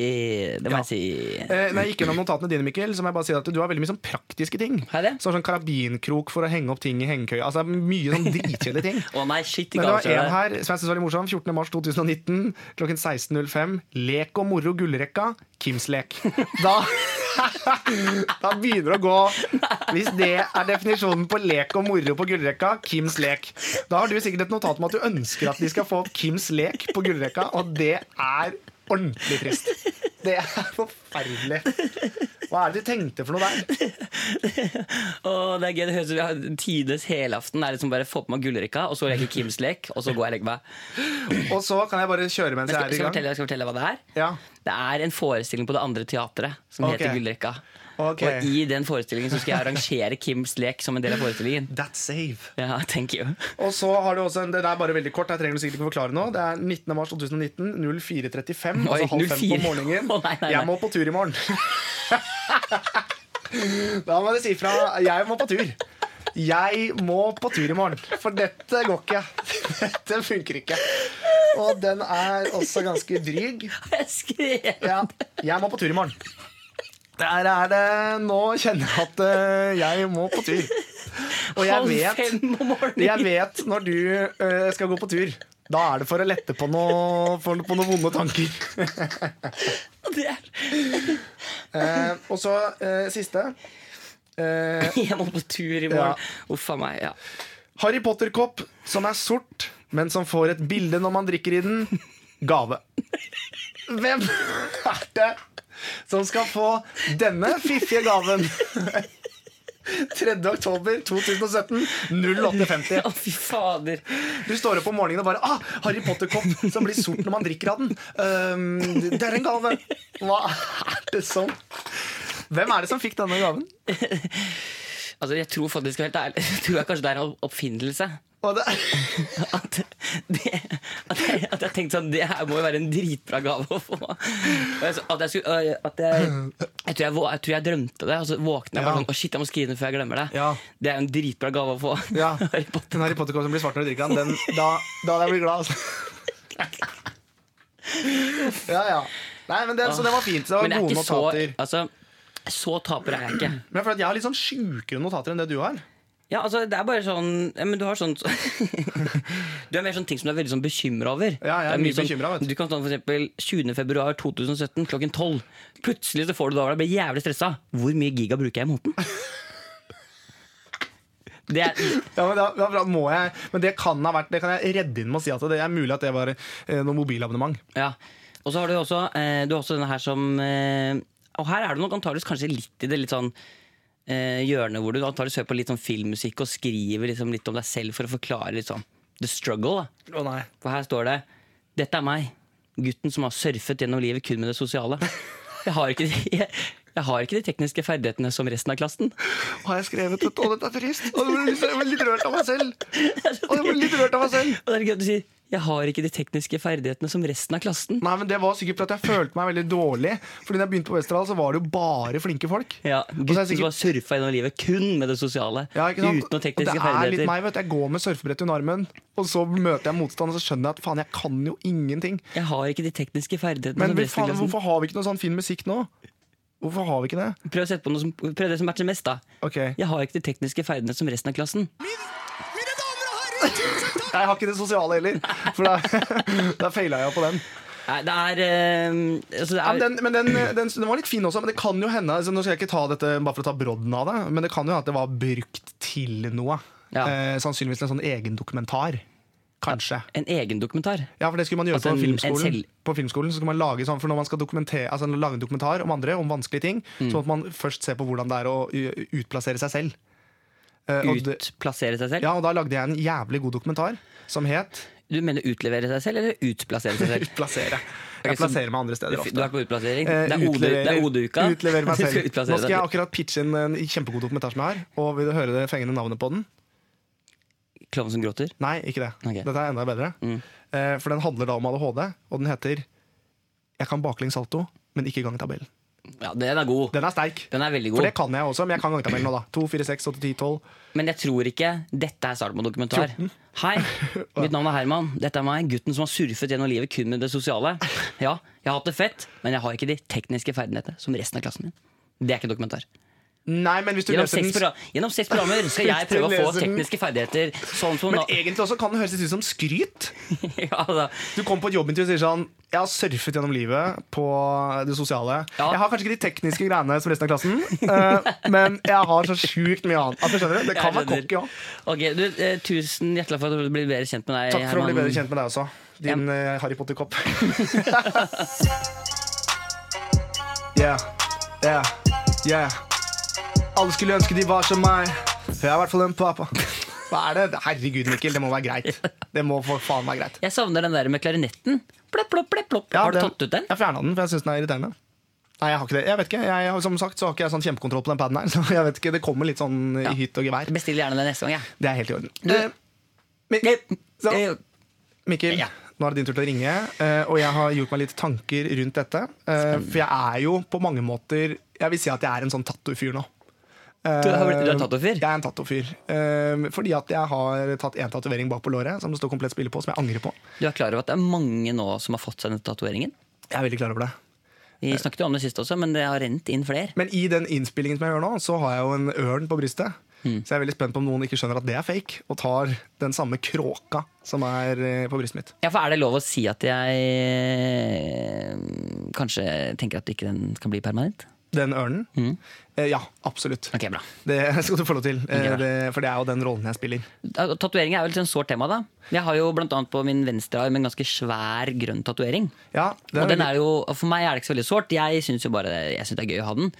[SPEAKER 2] Det må jeg si.
[SPEAKER 3] Eh, når jeg gikk gjennom notatene dine, Mikkel, så må jeg bare si at du har veldig mye sånn praktiske ting.
[SPEAKER 2] Har jeg det?
[SPEAKER 3] Så sånn karabinkrok for å henge opp ting i hengekøya. Altså, mye sånn dritkjedelige ting.
[SPEAKER 2] Å nei, shit,
[SPEAKER 3] Men
[SPEAKER 2] ikke
[SPEAKER 3] det var en
[SPEAKER 2] avslør det.
[SPEAKER 3] her som jeg synes var litt morsom. 14. mars 2019 klokken 16.05. Lek og moro gullrekka. Kims lek.
[SPEAKER 2] [laughs]
[SPEAKER 3] Da, [laughs] da begynner det å gå. Hvis det er definisjonen på lek og moro på gullrekka, Kims lek. Da har du sikkert et notat om at du ønsker at de skal få Kims lek på gullrekka, og det er ordentlig trist. Det er forferdelig. Hva er det du tenkte for noe der?
[SPEAKER 2] Å, det er gøy, det høres ut som vi har tidenes helaften. Det er liksom bare Få på meg gullrekka, og så leker Kims lek, og så går jeg og legger meg.
[SPEAKER 3] Og så kan jeg bare kjøre mens
[SPEAKER 2] Men skal, skal, jeg
[SPEAKER 3] jeg er i gang.
[SPEAKER 2] fortelle, skal jeg fortelle hva det er?
[SPEAKER 3] Ja.
[SPEAKER 2] Det er en forestilling på det andre teatret som
[SPEAKER 3] Ok.
[SPEAKER 2] heter Gullrekka.
[SPEAKER 3] Ok.
[SPEAKER 2] Og i den forestillingen så skal jeg arrangere Kims lek som en del av forestillingen.
[SPEAKER 3] That's safe.
[SPEAKER 2] Ja, thank you.
[SPEAKER 3] Og så har du også en, Det er bare veldig kort, jeg trenger du sikkert ikke forklare nå. Det er 19. mars 2019, 04.35,
[SPEAKER 2] Oi,
[SPEAKER 3] altså halv fem
[SPEAKER 2] 04.
[SPEAKER 3] på
[SPEAKER 2] [laughs]
[SPEAKER 3] morgenen.
[SPEAKER 2] Å, nei, nei, nei.
[SPEAKER 3] Jeg må på tur i morgen. [laughs] da må du si fra. Jeg må på tur. Jeg må på tur i morgen, for dette går ikke. [laughs] Dette funker ikke. Og den er også ganske dryg.
[SPEAKER 2] [laughs] Jeg skrev
[SPEAKER 3] Ja, jeg må på tur i morgen. Der er det Nå kjenner jeg at eh, jeg må på tur. Og jeg
[SPEAKER 2] halv
[SPEAKER 3] vet
[SPEAKER 2] fem om morgenen!
[SPEAKER 3] jeg vet når du eh, skal gå på tur. Da er det for å lette på, noe, for, på noen vonde tanker.
[SPEAKER 2] Det er,
[SPEAKER 3] Eh, og så eh, siste. Eh,
[SPEAKER 2] jeg må på tur i
[SPEAKER 3] Ja.
[SPEAKER 2] morgen. Uff a meg. Ja.
[SPEAKER 3] Harry Potter-kopp som er sort, men som får et bilde når man drikker i den. Gave. Hvem er det som skal få denne fiffige gaven. 3. oktober 2017, 08.50.
[SPEAKER 2] Å, fy fader.
[SPEAKER 3] Du står opp om morgenen og bare ah, 'Harry Potter-kopp som blir sort når man drikker av den'. Ehm, det er en gave! Hva er det som Hvem er det som fikk denne gaven?
[SPEAKER 2] Altså, jeg tror faktisk helt ærlig, [laughs] jeg tror jeg kanskje det er en oppfinnelse.
[SPEAKER 3] Og det,
[SPEAKER 2] At, det, at, jeg, at jeg tenkte sånn Det her må jo være en dritbra gave å få. Og jeg så- At jeg, skulle, øh, at jeg, jeg, tror jeg, vå- jeg tror jeg drømte det, og så våkna jeg bare
[SPEAKER 3] Ja.
[SPEAKER 2] sånn Å, shit, jeg må skrive det før jeg glemmer det.
[SPEAKER 3] Ja.
[SPEAKER 2] Det er jo en dritbra gave å få.
[SPEAKER 3] ja,
[SPEAKER 2] [laughs] Harry Potter.
[SPEAKER 3] den Harry Potter-kopp som blir svart når du drikker av den, den da, da hadde jeg blitt glad. Altså. Ja, ja. Nei, men det, så det var fint. Det var
[SPEAKER 2] Men jeg er
[SPEAKER 3] gode
[SPEAKER 2] ikke så
[SPEAKER 3] notater.
[SPEAKER 2] altså, Så taper er jeg ikke.
[SPEAKER 3] Men for at jeg har litt sånn sjukere notater enn det du har.
[SPEAKER 2] Ja, altså, det er bare sånn ja, Men du har sånn [laughs] Du er mer sånn ting som du er veldig sånn bekymra over.
[SPEAKER 3] Ja, jeg er
[SPEAKER 2] Det
[SPEAKER 3] mye bekymret, vet du.
[SPEAKER 2] du. kan sånn for eksempel 20. februar 2017 klokken 12. Plutselig så får du det over deg og blir jævlig stressa. Hvor mye giga bruker jeg i måneden? [laughs] Det er,
[SPEAKER 3] Ja, men, da, da, da må jeg, men det kan ha vært Det kan jeg redde inn med å si at det er mulig at det var eh, noe mobilabonnement.
[SPEAKER 2] ja. Og så har du jo også, eh, du har også denne her som eh, Og her er du nok antakeligvis kanskje litt i det litt sånn eh, hjørnet hvor du antakeligvis hører på litt sånn filmmusikk og skriver liksom litt om deg selv for å forklare litt sånn the struggle. da
[SPEAKER 3] Å nei
[SPEAKER 2] For her står det Dette er meg, gutten som har surfet gjennom livet kun med det sosiale. Jeg har ikke de, jeg, jeg har ikke de tekniske ferdighetene som resten av klassen.
[SPEAKER 3] har jeg skrevet dette, og dette er trist. Og jeg ble litt- jeg ble litt rørt av meg
[SPEAKER 2] [laughs]
[SPEAKER 3] selv. Og jeg ble litt rørt av meg selv.
[SPEAKER 2] Og det er gøy at du sier jeg har ikke de tekniske ferdighetene som resten av klassen.
[SPEAKER 3] Nei, men Det var sikkert fordi at jeg følte meg veldig dårlig. Fordi da jeg begynte på Westerdal, så var det jo bare flinke folk.
[SPEAKER 2] Ja,
[SPEAKER 3] Og så er
[SPEAKER 2] Gutten
[SPEAKER 3] jeg
[SPEAKER 2] som
[SPEAKER 3] sikkert-
[SPEAKER 2] har surfa gjennom livet kun med det sosiale.
[SPEAKER 3] Ja, ikke sant?
[SPEAKER 2] Uten noen
[SPEAKER 3] og det
[SPEAKER 2] tekniske
[SPEAKER 3] er litt
[SPEAKER 2] ferdigheter.
[SPEAKER 3] meg, vet du. Jeg går med surfebrettet under armen, og så møter jeg motstand, og så skjønner jeg at faen, jeg kan jo ingenting.
[SPEAKER 2] Jeg har ikke de tekniske ferdighetene
[SPEAKER 3] Men
[SPEAKER 2] som resten av
[SPEAKER 3] faen,
[SPEAKER 2] klassen.
[SPEAKER 3] hvorfor har vi ikke noe sånn fin musikk nå? Hvorfor har vi ikke det?
[SPEAKER 2] Prøv, å sette på noe som, prøv det som matcher mest, da.
[SPEAKER 3] Ok.
[SPEAKER 2] Jeg har ikke de tekniske ferdighetene som resten av klassen.
[SPEAKER 3] Jeg har ikke det sosiale heller, for da, [laughs] da feila jeg jo på den.
[SPEAKER 2] Nei, det er, eh, altså det
[SPEAKER 3] Ja,
[SPEAKER 2] er
[SPEAKER 3] men den, men den, den, den var litt fin også, men det kan jo hende altså, Nå skal jeg ikke ta dette bare for å ta brodden av det, men det kan jo hende at det var brukt til noe.
[SPEAKER 2] Ja.
[SPEAKER 3] Eh, sannsynligvis en sånn egen dokumentar. Kanskje.
[SPEAKER 2] en egen dokumentar.
[SPEAKER 3] Ja, for det skulle man gjøre
[SPEAKER 2] Altså
[SPEAKER 3] på
[SPEAKER 2] en-
[SPEAKER 3] filmskolen.
[SPEAKER 2] en selv-
[SPEAKER 3] På filmskolen så skulle man lage sånn, for når man skal dokumentere, altså lage en dokumentar om andre, om vanskelige ting,
[SPEAKER 2] Mm.
[SPEAKER 3] så måtte man først se på hvordan det er å u- utplassere seg selv. Eh, og det-
[SPEAKER 2] Utplassere seg selv.
[SPEAKER 3] ja, og da lagde jeg en jævlig god dokumentar som het
[SPEAKER 2] Du mener utlevere seg selv, eller utplassere seg
[SPEAKER 3] [laughs]
[SPEAKER 2] selv?
[SPEAKER 3] Utplassere. Jeg
[SPEAKER 2] Ok, så-
[SPEAKER 3] plasserer meg andre steder ofte.
[SPEAKER 2] Du er på utplassering.
[SPEAKER 3] Eh,
[SPEAKER 2] Det er OD- det er
[SPEAKER 3] utleverer-
[SPEAKER 2] OD-uka.
[SPEAKER 3] Utleverer
[SPEAKER 2] [laughs]
[SPEAKER 3] meg
[SPEAKER 2] Du
[SPEAKER 3] selv.
[SPEAKER 2] skal
[SPEAKER 3] Nå
[SPEAKER 2] utplassere
[SPEAKER 3] skal jeg
[SPEAKER 2] deg.
[SPEAKER 3] akkurat pitche inn en kjempegod dokumentar som jeg har. Og vil du høre det fengende navnet på den?
[SPEAKER 2] Klovn som gråter.
[SPEAKER 3] Nei, ikke det.
[SPEAKER 2] Ok. Mm.
[SPEAKER 3] Dette er enda bedre. Eh, For den handler da om ADHD, og den heter 'Jeg kan baklengs salto, men ikke gangtabellen'.
[SPEAKER 2] Ja, den er god.
[SPEAKER 3] Den er sterk.
[SPEAKER 2] Den er veldig
[SPEAKER 3] For det
[SPEAKER 2] god.
[SPEAKER 3] kan jeg også, men jeg kan gangtabellen nå, da. 2, 4, 6, 8, 10, 12.
[SPEAKER 2] Men jeg tror ikke dette er starten på dokumentar.
[SPEAKER 3] [laughs]
[SPEAKER 2] Hei, mitt navn er Herman. Dette er meg, gutten som har surfet gjennom livet kun med det sosiale. Ja, jeg har hatt det fett, men jeg har ikke de tekniske ferdighetene som resten av klassen min. Det er ikke dokumentar.
[SPEAKER 3] Nei, men hvis du
[SPEAKER 2] Gjennom
[SPEAKER 3] leser
[SPEAKER 2] seks,
[SPEAKER 3] den
[SPEAKER 2] progra- gjennom seks programmer
[SPEAKER 3] [laughs]
[SPEAKER 2] skal jeg
[SPEAKER 3] Hvis du
[SPEAKER 2] prøve å få
[SPEAKER 3] leser den-
[SPEAKER 2] tekniske ferdigheter sånn som
[SPEAKER 3] Men e- egentlig også kan den høres litt ut som skryt.
[SPEAKER 2] [laughs] ja, da.
[SPEAKER 3] Du kommer på et jobbintervju og sier sånn Jeg har surfet gjennom livet på det sosiale.
[SPEAKER 2] Ja.
[SPEAKER 3] Jeg har kanskje ikke de tekniske greiene som resten av klassen, eh, men jeg har så sjukt mye annet. Altså, skjønner du? Det
[SPEAKER 2] Jeg
[SPEAKER 3] kan være
[SPEAKER 2] skjønner.
[SPEAKER 3] cocky òg.
[SPEAKER 2] Ok, du, eh, Tusen hjertelig for at du ble bedre kjent med deg.
[SPEAKER 3] Takk for å bli
[SPEAKER 2] Herman.
[SPEAKER 3] bedre kjent med deg også. Din eh,
[SPEAKER 2] [laughs]
[SPEAKER 3] Harry Potter-kopp. yeah, yeah, yeah. Alle skulle ønske de var som meg. Jeg er i hvert fall en pappa. Hva er det? Herregud, Mikkel, det må være greit. Det må for faen være greit.
[SPEAKER 2] Jeg savner den der med klarinetten. Plopp, plopp, plopp, plopp.
[SPEAKER 3] Ja,
[SPEAKER 2] har du tatt ut den?
[SPEAKER 3] Jeg fjerna den, for jeg syns den er irriterende. Nei, jeg har ikke det. Jeg vet ikke. Jeg, har- som sagt så har ikke jeg sånn kjempekontroll på den paden her. [laughs] Så jeg vet ikke, Det kommer litt sånn i
[SPEAKER 2] Ja.
[SPEAKER 3] hytt og gevær.
[SPEAKER 2] Bestill gjerne den neste gang, jeg.
[SPEAKER 3] Det er helt i orden.
[SPEAKER 2] Du-
[SPEAKER 3] Eh, Mi- så,
[SPEAKER 2] Eh,
[SPEAKER 3] Mikkel,
[SPEAKER 2] Ja.
[SPEAKER 3] nå er det din tur til å ringe. eh, Og jeg har gjort meg litt tanker rundt dette. eh, For jeg er jo på mange måter Jeg vil si at jeg er en sånn tattoo-fyr nå. Eh,
[SPEAKER 2] Du har blitt- du er tattoo-fyr?
[SPEAKER 3] Jeg er en tattoo-fyr. Eh, Fordi at jeg har tatt én tatovering bak på låret som det står komplett spille på, som jeg angrer på.
[SPEAKER 2] Du er klar over at det er mange nå som har fått seg den tatoveringen?
[SPEAKER 3] Jeg er veldig klar over det. Eh.
[SPEAKER 2] Vi snakket jo om det sist også, men det har rent inn flere.
[SPEAKER 3] Men i den innspillingen som jeg gjør nå, så har jeg jo en ørn på brystet.
[SPEAKER 2] Mm.
[SPEAKER 3] Så jeg er veldig spent på om noen ikke skjønner at det er fake, og tar den samme kråka som er eh, på brystet mitt.
[SPEAKER 2] Ja, for Er det lov å si at jeg eh, kanskje tenker at ikke den skal bli permanent?
[SPEAKER 3] den ørnen? Eh, ja, absolutt.
[SPEAKER 2] Ok, bra.
[SPEAKER 3] Det skal du få lov til, eh,
[SPEAKER 2] Ok, bra.
[SPEAKER 3] det, for det er jo den rollen jeg spiller.
[SPEAKER 2] Tatovering er jo litt sånn sårt tema, da. Jeg har jo blant annet på min venstre arm en ganske svær grønn tatovering.
[SPEAKER 3] Ja, det
[SPEAKER 2] Og
[SPEAKER 3] er
[SPEAKER 2] den er jo, for meg er det ikke så veldig sårt. Jeg syns jo bare jeg synes det er gøy å ha den.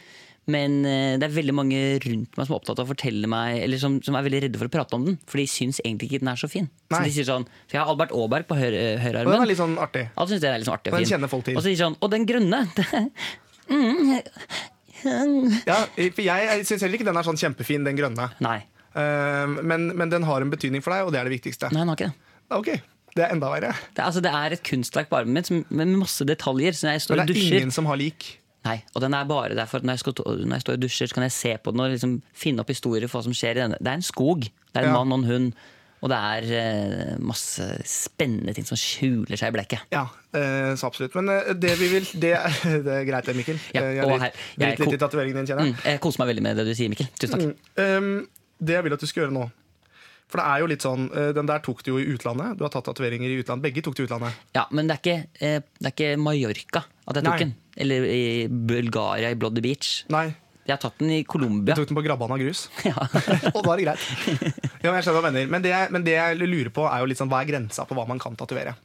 [SPEAKER 2] Men eh, det er veldig mange rundt meg som er opptatt av å fortelle meg Eller som, som er veldig redde for å prate om den. For de syns egentlig ikke den er så fin. Så de
[SPEAKER 3] Nei.
[SPEAKER 2] sier sånn, for Jeg har Albert Aaberg på høyre,
[SPEAKER 3] og den
[SPEAKER 2] høyrearmen.
[SPEAKER 3] er litt sånn artig.
[SPEAKER 2] Alle syns det er litt sånn artig
[SPEAKER 3] Den
[SPEAKER 2] og fin.
[SPEAKER 3] kjenner folk til.
[SPEAKER 2] Og så sier de sånn Og den grønne! [laughs] mm.
[SPEAKER 3] Ja, for jeg syns heller ikke den er sånn kjempefin, den grønne.
[SPEAKER 2] Nei.
[SPEAKER 3] Eh, men, men den har en betydning for deg, og det er det viktigste.
[SPEAKER 2] Nei, den har ikke det.
[SPEAKER 3] Ok, det er enda verre.
[SPEAKER 2] Det, er- altså, det er et kunstverk på armen min som- med masse detaljer. Så når jeg står
[SPEAKER 3] Men
[SPEAKER 2] og
[SPEAKER 3] det er
[SPEAKER 2] dusjer
[SPEAKER 3] ingen som har lik.
[SPEAKER 2] Nei, og den er bare der for at når jeg, skal, når jeg står og dusjer, så kan jeg se på den og liksom finne opp historier for hva som skjer i denne. Det er en skog. Det er en
[SPEAKER 3] Ja.
[SPEAKER 2] mann og en hund. Og det er eh, masse spennende ting som skjuler seg i blekket.
[SPEAKER 3] Ja, eh, så absolutt. Men eh, det vi vil Det, er- [laughs] det er greit, det, Mikkel.
[SPEAKER 2] Ja,
[SPEAKER 3] Eh, jeg
[SPEAKER 2] og
[SPEAKER 3] har
[SPEAKER 2] her-
[SPEAKER 3] litt,
[SPEAKER 2] jeg Mm.
[SPEAKER 3] litt, litt i
[SPEAKER 2] ko-
[SPEAKER 3] tatoveringen din, kjenner jeg.
[SPEAKER 2] Mm, jeg koser meg veldig med det du sier, Mikkel. Tusen takk.
[SPEAKER 3] Um, det jeg vil at du skal gjøre nå For det er jo litt sånn eh, Den der tok du jo i utlandet. Du har tatt tatoveringer i utlandet. Begge tok du i utlandet.
[SPEAKER 2] Ja, Men det er ikke, eh, det er ikke Mallorca at jeg
[SPEAKER 3] Nei.
[SPEAKER 2] tok den. Eller i Bulgaria, i Bloody Beach.
[SPEAKER 3] Nei,
[SPEAKER 2] Jeg har tatt den i Colombia.
[SPEAKER 3] du tok den på Grabban av grus. [laughs]
[SPEAKER 2] [laughs] Ja.
[SPEAKER 3] Og da er det greit. Ja, men jeg skjønner hva du mener. Men det, jeg- men det jeg lurer på, er jo litt sånn hva er grensa på hva man kan tatovere?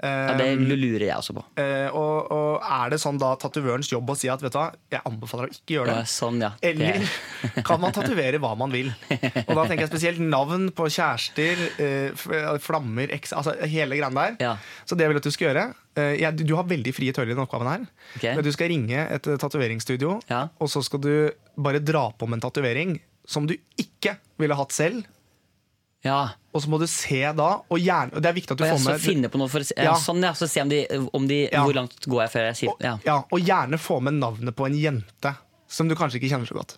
[SPEAKER 3] Ehm,
[SPEAKER 2] ja, det
[SPEAKER 3] Um,
[SPEAKER 2] lurer jeg også på.
[SPEAKER 3] Eh, og, og er det sånn da tatovørens jobb å si at vet du hva, jeg anbefaler deg å ikke gjøre
[SPEAKER 2] Ja,
[SPEAKER 3] det?
[SPEAKER 2] sånn, ja. Det-
[SPEAKER 3] Eller [laughs] kan man tatovere hva man vil? Og da tenker jeg spesielt navn på kjærester, eh, f- flammer, eks, altså hele greia der.
[SPEAKER 2] Ja.
[SPEAKER 3] Så det jeg vil at du skal gjøre eh, jeg, Du har veldig frie tøyler i denne oppgaven her.
[SPEAKER 2] Ok.
[SPEAKER 3] Men du skal ringe et eh, tatoveringsstudio,
[SPEAKER 2] Ja.
[SPEAKER 3] og så skal du bare dra på med en tatovering som du ikke ville hatt selv.
[SPEAKER 2] ja.
[SPEAKER 3] Og så må du se da, og gjerne og Det er viktig
[SPEAKER 2] Og
[SPEAKER 3] at du
[SPEAKER 2] jeg
[SPEAKER 3] får
[SPEAKER 2] så
[SPEAKER 3] med
[SPEAKER 2] finne på noe for å se, ja.
[SPEAKER 3] Ja.
[SPEAKER 2] Sånn, ja. Så se om de, om de
[SPEAKER 3] Ja.
[SPEAKER 2] Hvor langt går jeg før jeg sier
[SPEAKER 3] og,
[SPEAKER 2] ja.
[SPEAKER 3] ja, og gjerne få med navnet på en jente som du kanskje ikke kjenner så godt.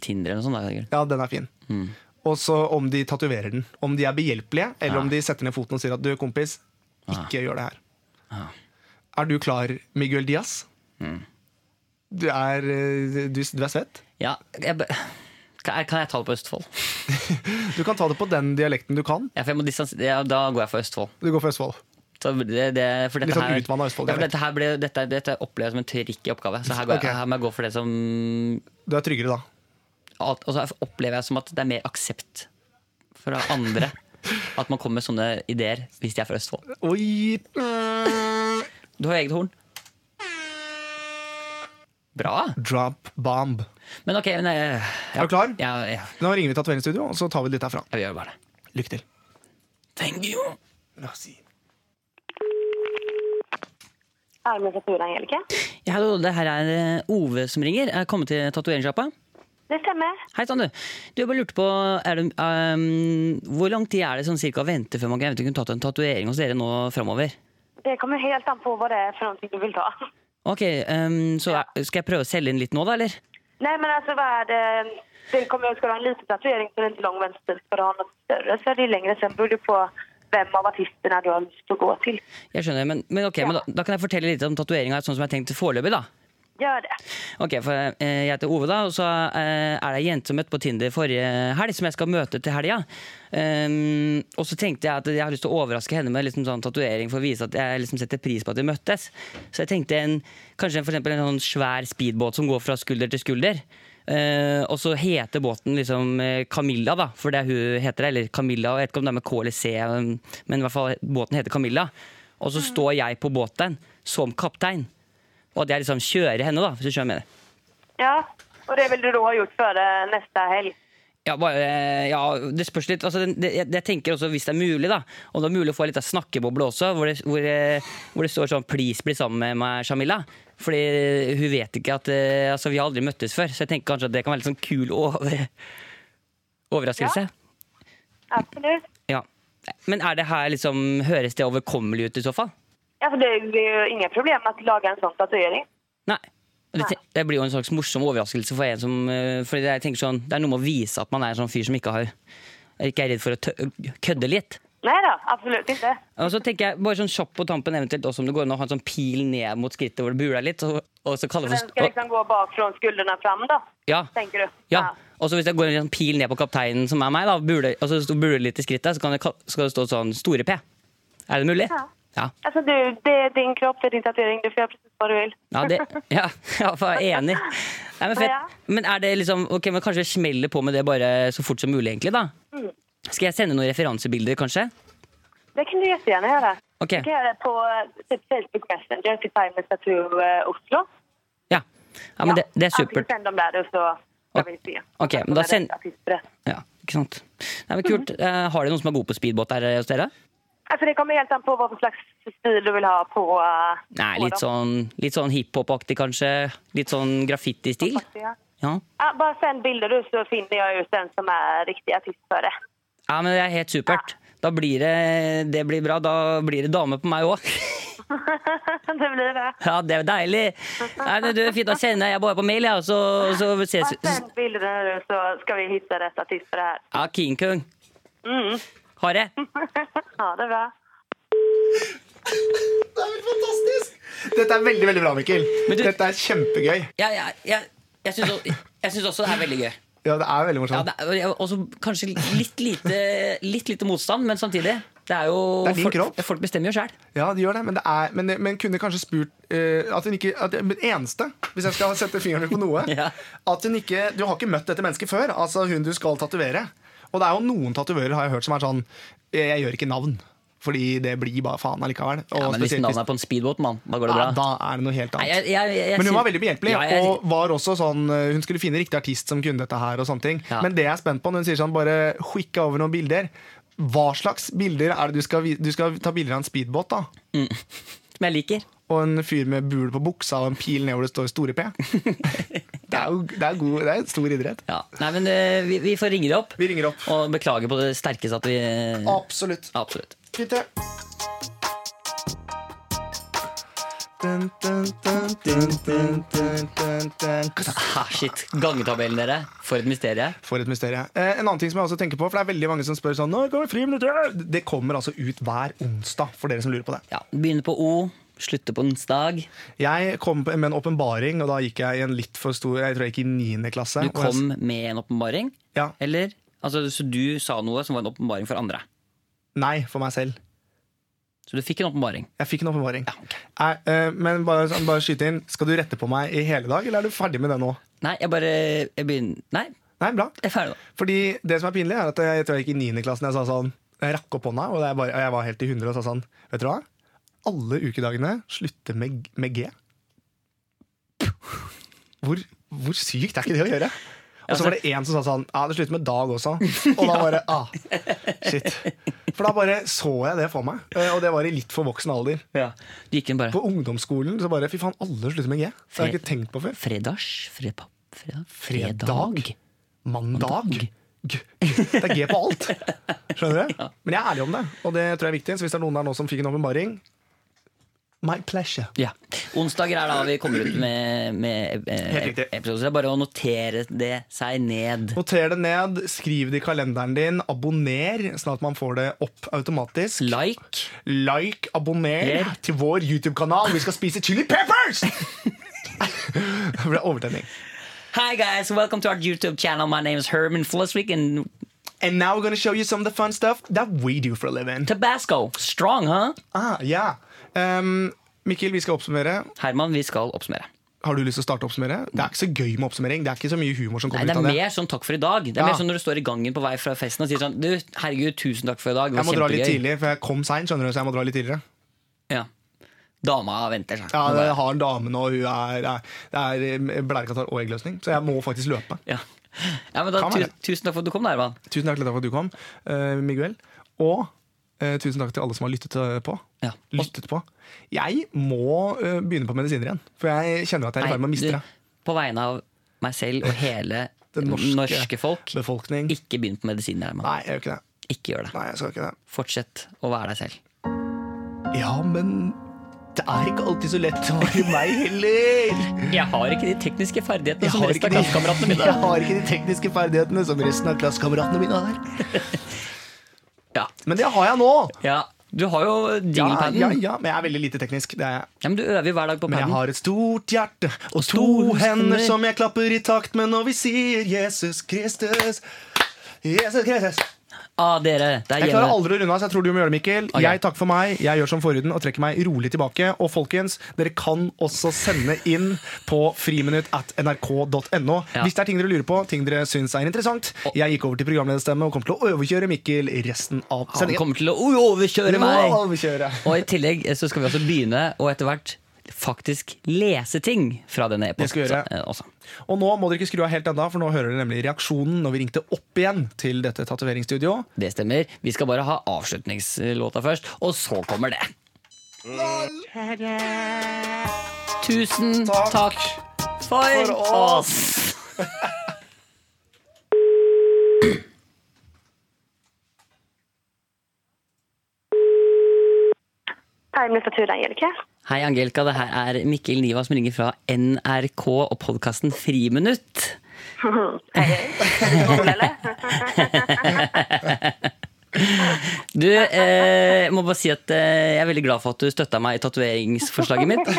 [SPEAKER 2] Tinder eller noe sånt. Da, sikkert.
[SPEAKER 3] Ja, den er fin.
[SPEAKER 2] Mm.
[SPEAKER 3] Og så om de tatoverer den. Om de er behjelpelige,
[SPEAKER 2] Ja.
[SPEAKER 3] eller
[SPEAKER 2] Ah.
[SPEAKER 3] om de setter ned foten og sier at du, kompis, ikke gjør det her. Er du klar, Miguel Diaz?
[SPEAKER 2] Mm.
[SPEAKER 3] Du, er, eh, du, du er svett.
[SPEAKER 2] Ja, jeg, be- kan kan jeg ta det på Østfold?
[SPEAKER 3] Du kan ta det på den dialekten du kan.
[SPEAKER 2] Ja, for jeg må distanse- ja, da går jeg for Østfold.
[SPEAKER 3] Du går for Østfold.
[SPEAKER 2] Så det, det, for dette
[SPEAKER 3] Litt sånn
[SPEAKER 2] her-
[SPEAKER 3] utvannet Østfold,
[SPEAKER 2] Ja, for
[SPEAKER 3] jeg vet.
[SPEAKER 2] dette, her ble, dette, dette opplever jeg som en trikk i oppgave. Så her, går
[SPEAKER 3] Ok.
[SPEAKER 2] jeg, her må jeg gå for det som
[SPEAKER 3] Du er tryggere da.
[SPEAKER 2] alt, Og så opplever jeg som at det er mer aksept fra
[SPEAKER 3] [laughs]
[SPEAKER 2] andre. At man kommer med sånne ideer hvis de er fra Østfold.
[SPEAKER 3] Oi! Mm.
[SPEAKER 2] Du har eget horn. Bra.
[SPEAKER 3] Drop bomb.
[SPEAKER 2] Men ok, men jeg, ja,
[SPEAKER 3] Er du klar?
[SPEAKER 2] Ja, ja,
[SPEAKER 3] Nå ringer vi tatoveringsstudio, og så tar vi det litt herfra.
[SPEAKER 2] jeg gjør bare det.
[SPEAKER 3] Lykke til.
[SPEAKER 2] Thank you.
[SPEAKER 1] Er det med tatovør, Angelica?
[SPEAKER 2] Ja, hallo, det her er eh, Ove som ringer. Jeg er kommet til tatoveringssjappa.
[SPEAKER 1] Det stemmer.
[SPEAKER 2] Hei sann, du. Du jeg bare lurte på er det, ehm, Hvor lang tid er det sånn cirka å vente før man kan eventuelt kunne tatt en tatovering hos dere nå framover?
[SPEAKER 1] Det kommer helt an på hva det er for noe du vil ta. [laughs]
[SPEAKER 2] Ok, ehm, så er, skal jeg prøve å selge inn litt nå, da, eller?
[SPEAKER 1] Nei, men altså, hva er det? det kommer, skal du ha en liten tatovering så er det ikke lang venstrestil. Skal du ha noe større, så er det lengre. Sen beror det på hvem av artistene du har lyst til å gå til.
[SPEAKER 2] Jeg skjønner, men, men ok, men da, da kan jeg fortelle litt om tatoveringa sånn som jeg har tenkt foreløpig, da.
[SPEAKER 1] Gjør det.
[SPEAKER 2] Ok, for eh, Jeg heter Ove, da, og så eh, er det ei jente som møtte på Tinder forrige helg, som jeg skal møte til helga. Ehm, og så tenkte jeg at jeg har lyst til å overraske henne med liksom sånn tatovering for å vise at jeg liksom setter pris på at vi møttes. Så jeg tenkte en, kanskje en, for eksempel en sånn svær speedbåt som går fra skulder til skulder. Eh, og så heter båten liksom eh, Camilla, da, for det er hun heter. det, Eller Camilla, og jeg vet ikke om det er med K eller C, men- men i hvert fall båten heter Camilla. Og så står jeg på båten som kaptein, og at jeg liksom kjører henne, da, hvis du skjønner hva jeg mener.
[SPEAKER 1] Ja, og det vil du da ha gjort før eh, neste helg.
[SPEAKER 2] Ja, bare, eh, ja, det spørs litt. Altså, det, det, jeg tenker også hvis det er mulig, da. Om det er mulig å få litt av snakkeboble også, hvor det, hvor, eh, hvor det står sånn 'please, bli sammen med meg, Shamila'. Fordi hun vet ikke at eh, altså, Vi har aldri møttes før, så jeg tenker kanskje at det kan være litt sånn kul over, overraskelse.
[SPEAKER 1] Absolutt.
[SPEAKER 2] Ja. Men er det her liksom Høres det overkommelig ut i så fall?
[SPEAKER 1] Alltså, det, det är ju inga problem att laga en sånn sån tatuering.
[SPEAKER 2] Nei. Og Det,
[SPEAKER 1] Nei.
[SPEAKER 2] det blir jo en slags morsom overraskelse for en som eh, Fordi jeg tenker sånn, Det er noe med å vise at man er en sånn fyr som ikke, har, ikke er redd for å tø kødde litt.
[SPEAKER 1] Nej då, absolut inte.
[SPEAKER 2] Og så tenker jeg, bare sånn kjapt på tampen eventuelt også om det går an å ha en sånn pil ned mot skrittet hvor det buler litt, og, og så kaller det
[SPEAKER 1] Den
[SPEAKER 2] for
[SPEAKER 1] ska liksom gå bak från skulderna fram då,
[SPEAKER 2] ja,
[SPEAKER 1] tänker du?
[SPEAKER 2] ja. Og så hvis det går en sånn pil ned på kapteinen som er meg, da, buler, og så sto- buler det litt i skrittet, så kan det, kall- så skal det stå sånn store P. Er det mulig?
[SPEAKER 1] Ja.
[SPEAKER 2] Ja.
[SPEAKER 1] Alltså Altså, du, det är din kropp, det är din tatuering, du får göra precis vad du vill.
[SPEAKER 2] Ja, det, ja, [laughs] ja for jeg er enig. Nei, men,
[SPEAKER 1] Ja.
[SPEAKER 2] fett. men er det liksom Ok, men kanskje smeller på med det bare så fort som mulig, egentlig, da? Skal jeg sende noen referansebilder, kanskje?
[SPEAKER 1] Det kan du jättegärna göra.
[SPEAKER 2] Ok,
[SPEAKER 1] Du kan göra det på eh, typ Facebook Messenger till Timeless Tattoo eh, Oslo.
[SPEAKER 2] ja. ja men det, det er
[SPEAKER 1] Antingen
[SPEAKER 2] supert.
[SPEAKER 1] sänd dem där och så ska vi se.
[SPEAKER 2] Okej, men då
[SPEAKER 1] Om det är
[SPEAKER 2] sänd-
[SPEAKER 1] rätt artister.
[SPEAKER 2] Ja, ikke sant. Nei, men kult. Eh, har dere noen som er god på speedbåt der eh, hos dere?
[SPEAKER 1] Alltså det kommer helt an på vad för slags stil du vill ha på... eh,
[SPEAKER 2] Nei,
[SPEAKER 1] på
[SPEAKER 2] litt
[SPEAKER 1] dem.
[SPEAKER 2] sånn, litt sånn hiphop-aktig, kanskje? Litt sånn graffiti-stil? Ja.
[SPEAKER 1] Ja, bara sänd bilder du så finner jag ut den som är riktig artist för det.
[SPEAKER 2] ja, men det er helt supert. Da blir det, det blir bra. Da blir det dame på meg òg. [laughs]
[SPEAKER 1] det blir det.
[SPEAKER 2] Ja, det er jo deilig. Nei, men du, fint, Da sender jeg bare på mail, jeg, og så, og så ses
[SPEAKER 1] Bara sänd bilder nu så ska vi hitta rätt artist för det här.
[SPEAKER 2] Ja, King Kong.
[SPEAKER 1] Mm.
[SPEAKER 2] Ha det.
[SPEAKER 1] ja, det er bra.
[SPEAKER 3] Det er helt fantastisk! Dette er veldig veldig bra, Mikkel.
[SPEAKER 2] Men du-
[SPEAKER 3] Dette er kjempegøy.
[SPEAKER 2] Ja, ja, ja, jeg syns også, jeg syns også det er veldig gøy.
[SPEAKER 3] Ja, det er veldig
[SPEAKER 2] Ja,
[SPEAKER 3] morsomt.
[SPEAKER 2] det er, og også kanskje litt lite, litt lite motstand, men samtidig. Det er jo
[SPEAKER 3] Det er din kropp.
[SPEAKER 2] folk, folk bestemmer jo sjæl.
[SPEAKER 3] Ja, det gjør det, men, det er, men, men kunne kanskje spurt eh, at hun ikke, at, men eneste, hvis jeg skal sette fingeren på noe
[SPEAKER 2] [laughs] Ja.
[SPEAKER 3] At hun ikke, Du har ikke møtt dette mennesket før, altså hun du skal tatovere. Og det er jo noen tatoverer har jeg hørt som er sånn eh, Jeg gjør ikke navn, fordi det blir bare faen allikevel. Og
[SPEAKER 2] Ja, men hvis
[SPEAKER 3] spesielt
[SPEAKER 2] navnet er på en speedbåt, mann, da går det
[SPEAKER 3] ja,
[SPEAKER 2] bra.
[SPEAKER 3] da er det noe helt
[SPEAKER 2] Nei,
[SPEAKER 3] annet.
[SPEAKER 2] jeg- jeg- jeg- jeg
[SPEAKER 3] Men hun
[SPEAKER 2] syns-
[SPEAKER 3] var veldig behjelpelig,
[SPEAKER 2] Ja, jeg-
[SPEAKER 3] og var også sånn eh, Hun skulle finne riktig artist som kunne dette her. og sånne ting
[SPEAKER 2] Ja.
[SPEAKER 3] Men det jeg er spent på når hun sier sånn Bare skikk over noen bilder. Hva slags bilder er det du skal vi- Du skal ta bilder av en speedbåt, da?
[SPEAKER 2] Som jeg liker.
[SPEAKER 3] Og en fyr med bul på buksa og en pil ned hvor det står [laughs] store P? Det er jo det er god, det er en stor idrett.
[SPEAKER 2] Ja. Nei, men eh, vi, vi får ringe det opp.
[SPEAKER 3] Vi ringer opp.
[SPEAKER 2] Og beklager på det sterkeste at vi
[SPEAKER 3] Absolutt.
[SPEAKER 2] Absolutt.
[SPEAKER 3] Fint, det. Dun, dun, dun, dun, dun, dun, dun, dun.
[SPEAKER 2] Ah, shit. Gangetabellen, dere. For et mysterium.
[SPEAKER 3] For et mysterium. Eh, en annen ting som jeg også tenker på, for det er veldig mange som spør sånn Når kommer friminuttet? Det kommer altså ut hver onsdag, for dere som lurer på det.
[SPEAKER 2] Ja, Begynner på O, slutter på onsdag.
[SPEAKER 3] Jeg kom på- med en åpenbaring, og da gikk jeg i en litt for stor Jeg tror jeg gikk i niende klasse.
[SPEAKER 2] Du
[SPEAKER 3] og jeg-
[SPEAKER 2] kom med en åpenbaring?
[SPEAKER 3] Ja.
[SPEAKER 2] Eller? Altså, så du sa noe som var en åpenbaring for andre.
[SPEAKER 3] Nei, for meg selv.
[SPEAKER 2] Så du fikk en åpenbaring.
[SPEAKER 3] Jeg fikk en åpenbaring. Nei, eh, men bare, sånn, bare skyte inn. Skal du rette på meg i hele dag, eller er du ferdig med det nå?
[SPEAKER 2] Nei, jeg bare jeg begynner. Nei,
[SPEAKER 3] Nei, bra.
[SPEAKER 2] jeg er ferdig nå.
[SPEAKER 3] Fordi det som er pinlig, er at jeg, jeg tror jeg gikk i niende klassen. Jeg sa sånn Jeg rakk opp hånda, og, det er bare, og jeg var helt i hundre og sa sånn Vet du hva? Alle ukedagene slutter med, med G. Hvor, hvor sykt er ikke det å gjøre? Og så var det én som sa sånn Ja, det slutter med dag også. Og da bare ah, Shit. For da bare så jeg det for meg. Eh, Og det var i litt for voksen alder.
[SPEAKER 2] Du gikk inn bare
[SPEAKER 3] På ungdomsskolen så bare Fy faen, alle slutter med G. Det har jeg ikke tenkt på før.
[SPEAKER 2] Fredags? Fredag? fredag,
[SPEAKER 3] Fredag? Mandag? G. Det er G på alt. Skjønner du? Men jeg er ærlig om det, og det tror jeg er viktig. Så hvis det er noen der nå som fikk en åpenbaring My pleasure.
[SPEAKER 2] Ja. Onsdager er da vi kommer ut med, med eh,
[SPEAKER 3] Helt riktig.
[SPEAKER 2] episoder. Det er bare å notere det seg ned.
[SPEAKER 3] Noter det ned, skriv det i kalenderen din, abonner, sånn at man får det opp automatisk.
[SPEAKER 2] Like.
[SPEAKER 3] Like, abonner
[SPEAKER 2] Yeah.
[SPEAKER 3] til vår YouTube-kanal. Vi skal spise chili [laughs] peppers! Det ble overtenning.
[SPEAKER 2] Hi guys, welcome to our YouTube channel. My name is Herman Flesvig and
[SPEAKER 3] And now we're gonna show you some of the fun stuff that we do for a living.
[SPEAKER 2] Tabasco. Strong, huh?
[SPEAKER 3] Ah, yeah. um, Mikkel, vi skal oppsummere.
[SPEAKER 2] Herman, vi skal oppsummere.
[SPEAKER 3] Har du lyst til å starte å oppsummere? Det er ikke så gøy med oppsummering. Det er ikke så mye humor som
[SPEAKER 2] Nei,
[SPEAKER 3] kommer
[SPEAKER 2] det
[SPEAKER 3] ut
[SPEAKER 2] er
[SPEAKER 3] av det.
[SPEAKER 2] mer sånn takk for i dag. Det er
[SPEAKER 3] Ja.
[SPEAKER 2] mer sånn når du står i gangen på vei fra festen og sier sånn Du, herregud, tusen takk for i dag. Det
[SPEAKER 3] Jeg må
[SPEAKER 2] var
[SPEAKER 3] dra litt
[SPEAKER 2] kjempegøy.
[SPEAKER 3] tidlig, for jeg kom seint, skjønner du, så jeg må dra litt tidligere.
[SPEAKER 2] Ja. Dama venter. sånn.
[SPEAKER 3] Ja,
[SPEAKER 2] Hun
[SPEAKER 3] det
[SPEAKER 2] bare-
[SPEAKER 3] har damen, og hun er, er, er blærekatarr og eggløsning, så jeg må faktisk løpe.
[SPEAKER 2] ja. ja, men da,
[SPEAKER 3] Kan
[SPEAKER 2] tu,
[SPEAKER 3] være.
[SPEAKER 2] Tusen takk for at du kom, da, Herman.
[SPEAKER 3] Tusen takk til deg for at du kom, eh, Miguel. Og eh, tusen takk til alle som har lyttet eh, på.
[SPEAKER 2] Ja.
[SPEAKER 3] Lyttet på. Jeg må eh, begynne på medisiner igjen, for jeg kjenner at jeg er i ferd med å miste
[SPEAKER 2] du,
[SPEAKER 3] det.
[SPEAKER 2] på vegne av meg selv og
[SPEAKER 3] [laughs]
[SPEAKER 2] hele det
[SPEAKER 3] Det norske
[SPEAKER 2] norske, folk,
[SPEAKER 3] Befolkning.
[SPEAKER 2] ikke begynn på medisiner, Herman.
[SPEAKER 3] Nei, jeg gjør ikke det.
[SPEAKER 2] Ikke gjør det.
[SPEAKER 3] Nei, jeg skal ikke det.
[SPEAKER 2] Fortsett å være deg selv.
[SPEAKER 3] Ja, men det er ikke alltid så lett å være
[SPEAKER 2] [laughs]
[SPEAKER 3] meg heller.
[SPEAKER 2] Jeg har ikke de tekniske ferdighetene
[SPEAKER 3] Jeg
[SPEAKER 2] som
[SPEAKER 3] har,
[SPEAKER 2] resten av
[SPEAKER 3] ikke de,
[SPEAKER 2] klassekameratene
[SPEAKER 3] [laughs] jeg
[SPEAKER 2] mine.
[SPEAKER 3] har ikke de tekniske ferdighetene som resten av klassekameratene mine har.
[SPEAKER 2] Ja.
[SPEAKER 3] Men det har jeg nå!
[SPEAKER 2] ja. Du har jo
[SPEAKER 3] Ja,
[SPEAKER 2] dingelpaden.
[SPEAKER 3] ja, ja, men jeg er veldig lite teknisk. Det er jeg.
[SPEAKER 2] Ja, men du øver jo hver dag på
[SPEAKER 3] Men jeg
[SPEAKER 2] paden.
[SPEAKER 3] har et stort hjerte og to
[SPEAKER 2] Store
[SPEAKER 3] hender
[SPEAKER 2] hender.
[SPEAKER 3] som jeg klapper i takt med når vi sier Jesus Kristus. Jesus Kristus.
[SPEAKER 2] Ah, dere, det er
[SPEAKER 3] Jeg klarer
[SPEAKER 2] hjemme.
[SPEAKER 3] aldri å runde av, så jeg tror du må gjøre det, Mikkel.
[SPEAKER 2] Ok.
[SPEAKER 3] Jeg takker for meg, jeg gjør som forhuden og trekker meg rolig tilbake. Og folkens, dere kan også sende inn på friminutt at nrk.no
[SPEAKER 2] Ja.
[SPEAKER 3] hvis det er ting dere lurer på, ting dere syns er interessant. Jeg gikk over til programlederstemme og kommer til å overkjøre Mikkel i resten av
[SPEAKER 2] Han
[SPEAKER 3] sendingen.
[SPEAKER 2] kommer til å overkjøre
[SPEAKER 3] Du må
[SPEAKER 2] meg!
[SPEAKER 3] overkjøre.
[SPEAKER 2] Og i tillegg eh, så skal vi også begynne å etter hvert faktisk lese ting fra denne
[SPEAKER 3] Det skal vi
[SPEAKER 2] e-posten.
[SPEAKER 3] gjøre.
[SPEAKER 2] eh, også.
[SPEAKER 3] Og nå må dere ikke skru av helt ennå, for nå hører dere nemlig reaksjonen når vi ringte opp igjen til dette tatoveringsstudioet.
[SPEAKER 2] Det stemmer. Vi skal bare ha avslutningslåta først, og så kommer det. Tusen takk, for, oss!
[SPEAKER 1] Hei, min statur, Angelica.
[SPEAKER 2] Hei, Angelica. Det her er Mikkel Niva som ringer fra NRK og podkasten Friminutt.
[SPEAKER 1] Cool, eller?
[SPEAKER 2] Du, eh, jeg må bare si at eh, jeg er veldig glad for at du støtta meg i tatoveringsforslaget mitt.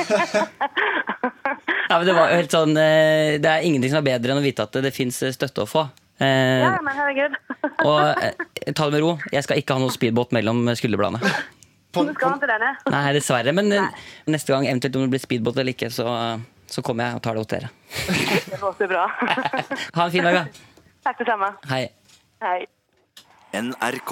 [SPEAKER 2] Ja, men det, var jo helt sånn, eh, det er ingenting som er bedre enn å vite at det fins støtte å få. Eh,
[SPEAKER 1] Ja, men herregud.
[SPEAKER 2] og eh, ta det med ro. Jeg skal ikke ha noe speedbåt mellom skulderbladene.
[SPEAKER 1] Du skal ikke det, nei.
[SPEAKER 2] Nei, dessverre. Men eh, neste gang, eventuelt om det blir speedbåt eller ikke, så, eh, så kommer jeg og tar det hos dere.
[SPEAKER 1] Det låter bra.
[SPEAKER 2] Ha en fin dag, da.
[SPEAKER 1] Takk det samme.
[SPEAKER 2] Hei.
[SPEAKER 1] Hei.
[SPEAKER 4] NRK.